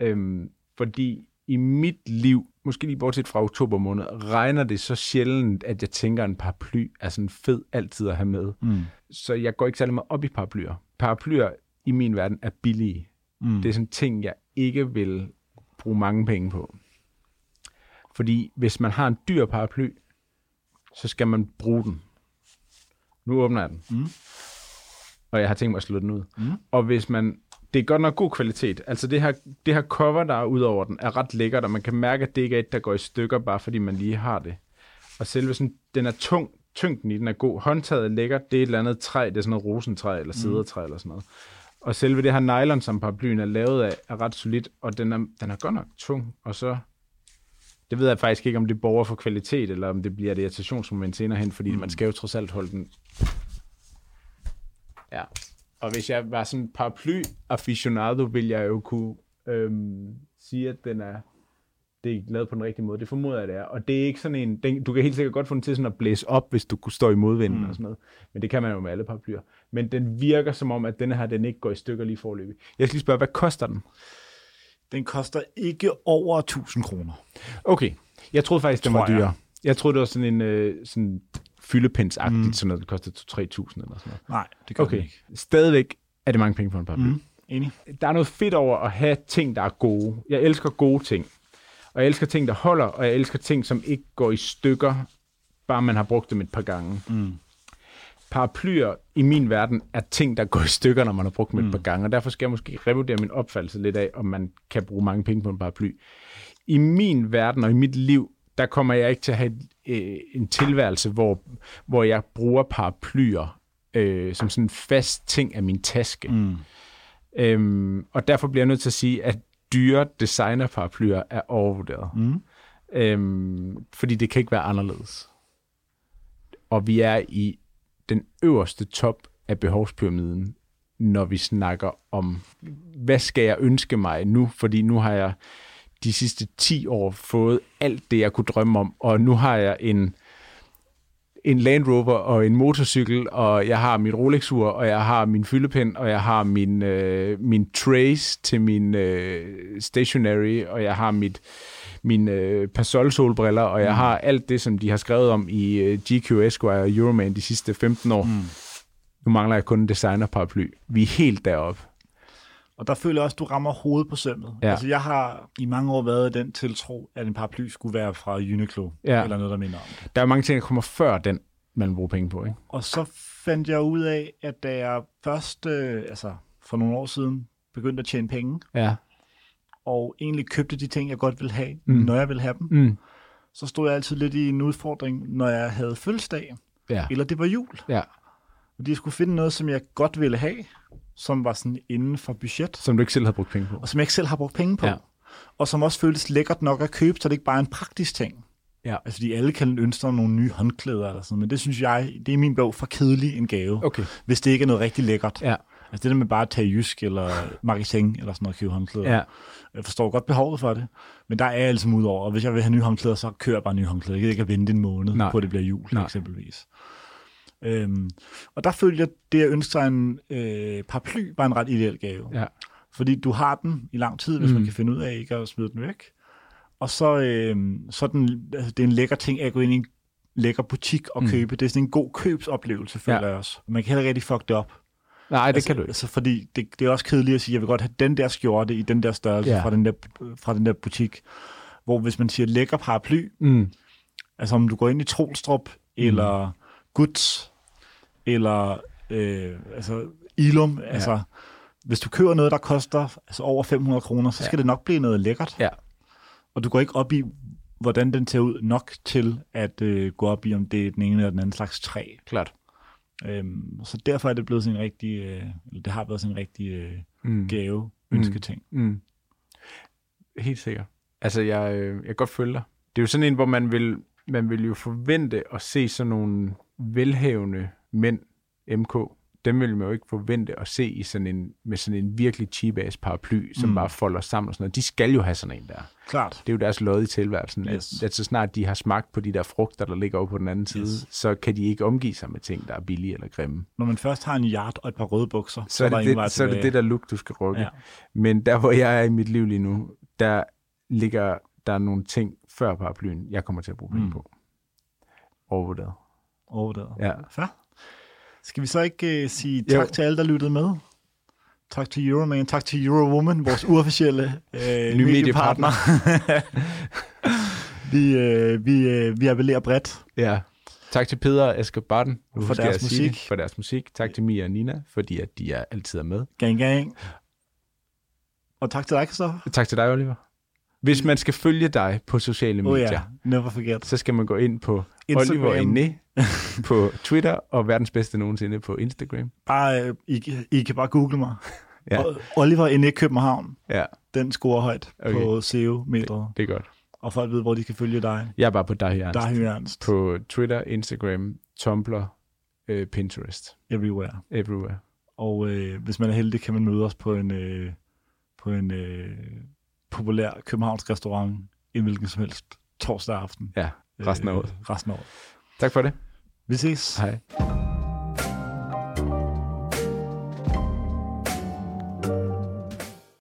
Speaker 1: Øhm, fordi i mit liv, måske lige bortset fra oktober måned, regner det så sjældent, at jeg tænker, at en paraply er sådan fed altid at have med.
Speaker 2: Mm.
Speaker 1: Så jeg går ikke særlig meget op i paraplyer. Paraplyer i min verden er billige.
Speaker 2: Mm.
Speaker 1: Det er sådan ting, jeg ikke vil bruge mange penge på. Fordi hvis man har en dyr paraply, så skal man bruge den. Nu åbner jeg den. Mm. Og jeg har tænkt mig at slå den ud. Mm. Og hvis man... Det er godt nok god kvalitet. Altså det her, det her cover, der er ud over den, er ret lækkert, og man kan mærke, at det ikke er et, der går i stykker, bare fordi man lige har det. Og selve sådan, den er tung, tyngden i den er god. Håndtaget er lækkert, det er et eller andet træ, det er sådan noget rosentræ eller sædertræ eller sådan noget. Og selve det her nylon, som paraplyen er lavet af, er ret solidt, og den er, den er godt nok tung. Og så, det ved jeg faktisk ikke, om det borger for kvalitet, eller om det bliver et irritationsmoment senere hen, fordi mm. man skal jo trods alt holde den. Ja. Og hvis jeg var sådan en paraply-aficionado, ville jeg jo kunne øhm, sige, at den er det er lavet på den rigtige måde. Det formoder jeg, det er. Og det er ikke sådan en... Den, du kan helt sikkert godt få den til sådan at blæse op, hvis du kunne stå i modvinden mm. og sådan noget. Men det kan man jo med alle paraplyer. Men den virker som om, at den her, den ikke går i stykker lige forløbig. Jeg skal lige spørge, hvad koster den?
Speaker 2: Den koster ikke over 1000 kroner.
Speaker 1: Okay. Jeg troede faktisk, den
Speaker 2: Tror
Speaker 1: var
Speaker 2: jeg.
Speaker 1: dyrere. Jeg. jeg troagde, det var sådan en øh, sådan fyldepindsagtigt, mm. sådan noget, det kostede 2-3.000 eller sådan noget.
Speaker 2: Nej, det gør okay. den
Speaker 1: Okay.
Speaker 2: ikke.
Speaker 1: Stadigvæk er det mange penge for en paraply. Mm.
Speaker 2: Enig?
Speaker 1: der er noget fedt over at have ting, der er gode. Jeg elsker gode ting. Og jeg elsker ting, der holder, og jeg elsker ting, som ikke går i stykker, bare man har brugt dem et par gange. Mm. Paraplyer i min verden er ting, der går i stykker, når man har brugt dem et par gange, og derfor skal jeg måske revurdere min opfattelse lidt af, om man kan bruge mange penge på en paraply. I min verden og i mit liv, der kommer jeg ikke til at have øh, en tilværelse, hvor, hvor jeg bruger paraplyer øh, som sådan en fast ting af min taske. Mm. Øhm, og derfor bliver jeg nødt til at sige, at dyre designerparaplyer er overvurderet. Mm. Øhm, fordi det kan ikke være anderledes. Og vi er i den øverste top af behovspyramiden, når vi snakker om, hvad skal jeg ønske mig nu? Fordi nu har jeg de sidste 10 år fået alt det, jeg kunne drømme om, og nu har jeg en en Land Rover og en motorcykel, og jeg har mit Rolex-ur, og jeg har min fyldepind, og jeg har min, øh, min trace til min øh, stationery, og jeg har mit, mine øh, Pasol-solbriller, og jeg har alt det, som de har skrevet om i øh, GQ Esquire og Euroman de sidste 15 år. Mm. Nu mangler jeg kun en designer-paraply. Vi er helt deroppe.
Speaker 2: Og der føler jeg også, at du rammer hovedet på sømmet.
Speaker 1: Ja.
Speaker 2: Altså, jeg har i mange år været i den tiltro, at en paraply skulle være fra Uniqlo,
Speaker 1: Ja.
Speaker 2: eller noget, der minder om det.
Speaker 1: Der er mange ting, der kommer før den, man bruger penge på. Ikke?
Speaker 2: Og så fandt jeg ud af, at da jeg først, øh, altså for nogle år siden, begyndte at tjene penge,
Speaker 1: Ja.
Speaker 2: og egentlig købte de ting, jeg godt ville have, mm. når jeg ville have dem,
Speaker 1: Mm.
Speaker 2: så stod jeg altid lidt i en udfordring, når jeg havde fødselsdag,
Speaker 1: Ja.
Speaker 2: eller det var jul.
Speaker 1: ja.
Speaker 2: Fordi jeg skulle finde noget, som jeg godt ville have, som var sådan inden for budget,
Speaker 1: Som du ikke selv har brugt penge på.
Speaker 2: og som jeg ikke selv har brugt penge på.
Speaker 1: Ja.
Speaker 2: Ja. Og som også føltes lækkert nok at købe, så det ikke bare er en praktisk ting.
Speaker 1: Ja.
Speaker 2: Altså, fordi alle kan ønske sig nogle nye håndklæder eller sådan men det synes jeg, det er i min bog for kedelig en gave,
Speaker 1: Okay.
Speaker 2: hvis det ikke er noget rigtig lækkert.
Speaker 1: Ja.
Speaker 2: Altså det der med bare at tage jysk eller marketing eller sådan noget og købe håndklæder.
Speaker 1: Ja.
Speaker 2: Jeg forstår godt behovet for det, men der er jeg altså ud over. Og hvis jeg vil have nye håndklæder, så kører jeg bare nye håndklæder. Jeg gider ikke at vente en måned
Speaker 1: Nej.
Speaker 2: Nej. på, at det bliver jul,
Speaker 1: Nej.
Speaker 2: Nej. eksempelvis. Øhm, og der følte jeg, det at ønske sig en øh, paraply var en ret ideel gave.
Speaker 1: Ja.
Speaker 2: Fordi du har den i lang tid, hvis mm. man kan finde ud af ikke at smide den væk. Og så, øh, så er den, altså, det er en lækker ting at gå ind i en lækker butik og mm. købe. Det er sådan en god købsoplevelse, føler
Speaker 1: Ja.
Speaker 2: ja. jeg også. Man kan heller ikke rigtig fuck det op.
Speaker 1: Nej, det
Speaker 2: altså,
Speaker 1: kan du ikke.
Speaker 2: Altså, fordi det, det er også kedeligt at sige, jeg vil godt have den der skjorte i den der størrelse
Speaker 1: Ja.
Speaker 2: ja. fra, den der, fra den der butik. Hvor hvis man siger lækker paraply,
Speaker 1: Mm.
Speaker 2: altså om du går ind i Trolstrup, mm. eller Guts, eller øh, altså Ilum, ja. altså hvis du køber noget, der koster altså over 500 kroner, så skal ja. det nok blive noget lækkert.
Speaker 1: Ja.
Speaker 2: Og du går ikke op i, hvordan den ser ud nok til at øh, gå op i, om det er den ene eller den anden slags træ.
Speaker 1: Klart.
Speaker 2: Øhm, så derfor er det blevet sådan en rigtig, øh, eller det har været sådan en rigtig øh, mm. gave ønsketing.
Speaker 1: Mm. Helt sikkert. Altså, jeg, øh, jeg kan godt følge dig. Det er jo sådan en, hvor man vil, man vil jo forvente at se sådan nogle velhavende mænd, MK, dem ville man jo ikke forvente at se i sådan en, med sådan en virkelig cheap-ass paraply, som mm. bare folder sammen og sådan noget. De skal jo have sådan en der.
Speaker 2: Klart.
Speaker 1: Det er jo deres lod i tilværelsen, yes. at,
Speaker 2: Yes.
Speaker 1: at så snart de har smagt på de der frugter, der ligger over på den anden side, yes. så kan de ikke omgive sig med ting, der er billige eller grimme.
Speaker 2: Når man først har en hjert og et par røde bukser,
Speaker 1: Så er
Speaker 2: der
Speaker 1: det,
Speaker 2: ingen vej
Speaker 1: det, så er det,
Speaker 2: tilbage.
Speaker 1: det der look, du skal rykke.
Speaker 2: Ja.
Speaker 1: Ja. Men der, hvor jeg er i mit liv lige nu, der ligger der nogle ting før paraplyen, jeg kommer til at bruge penge
Speaker 2: Mm.
Speaker 1: mm. på. Overvurderet.
Speaker 2: overvurderet.
Speaker 1: Ja.
Speaker 2: Fair. Skal vi så ikke uh, sige tak
Speaker 1: Jo.
Speaker 2: til alle, der lyttede med? Tak til Euroman, tak til Eurowoman, vores uofficielle øh,
Speaker 1: <laughs> Nye
Speaker 2: mediepartner. <laughs> vi, øh, vi, øh, vi appellerer bredt.
Speaker 1: Ja. Tak til Peder og Asger Barton
Speaker 2: For
Speaker 1: husker
Speaker 2: deres
Speaker 1: jeg at sige
Speaker 2: musik.
Speaker 1: Det, for deres musik. Tak til Mia og Nina, fordi at de er altid er med.
Speaker 2: Gang, gang. Og tak til dig, Christoffer.
Speaker 1: Tak til dig, Oliver. Hvis man skal følge dig på sociale medier,
Speaker 2: Oh
Speaker 1: oh,
Speaker 2: ja,
Speaker 1: ja.
Speaker 2: never forget.
Speaker 1: så skal man gå ind på
Speaker 2: Instagram.
Speaker 1: Instagram. Oliver Inde på Twitter og verdens bedste nogensinde på Instagram.
Speaker 2: Bare, øh, I, I kan bare google mig.
Speaker 1: <laughs> Ja.
Speaker 2: Og Oliver Inde København,
Speaker 1: Ja,
Speaker 2: den scorer højt okay. på
Speaker 1: Okay.
Speaker 2: SEO-metret.
Speaker 1: det er godt.
Speaker 2: Og folk ved, hvor de kan følge dig.
Speaker 1: Jeg er bare på dig, Jørgensen.
Speaker 2: Der er Ernst.
Speaker 1: på Twitter, Instagram, Tumblr, øh, Pinterest,
Speaker 2: Everywhere.
Speaker 1: everywhere.
Speaker 2: Og øh, hvis man er heldig, kan man møde os på en, øh, på en øh, populær københavnsk restaurant en hvilken som helst torsdag aften.
Speaker 1: Ja, resten af året.
Speaker 2: Øh, resten af året.
Speaker 1: Tak for det.
Speaker 2: Vi ses.
Speaker 1: Øh, Hej.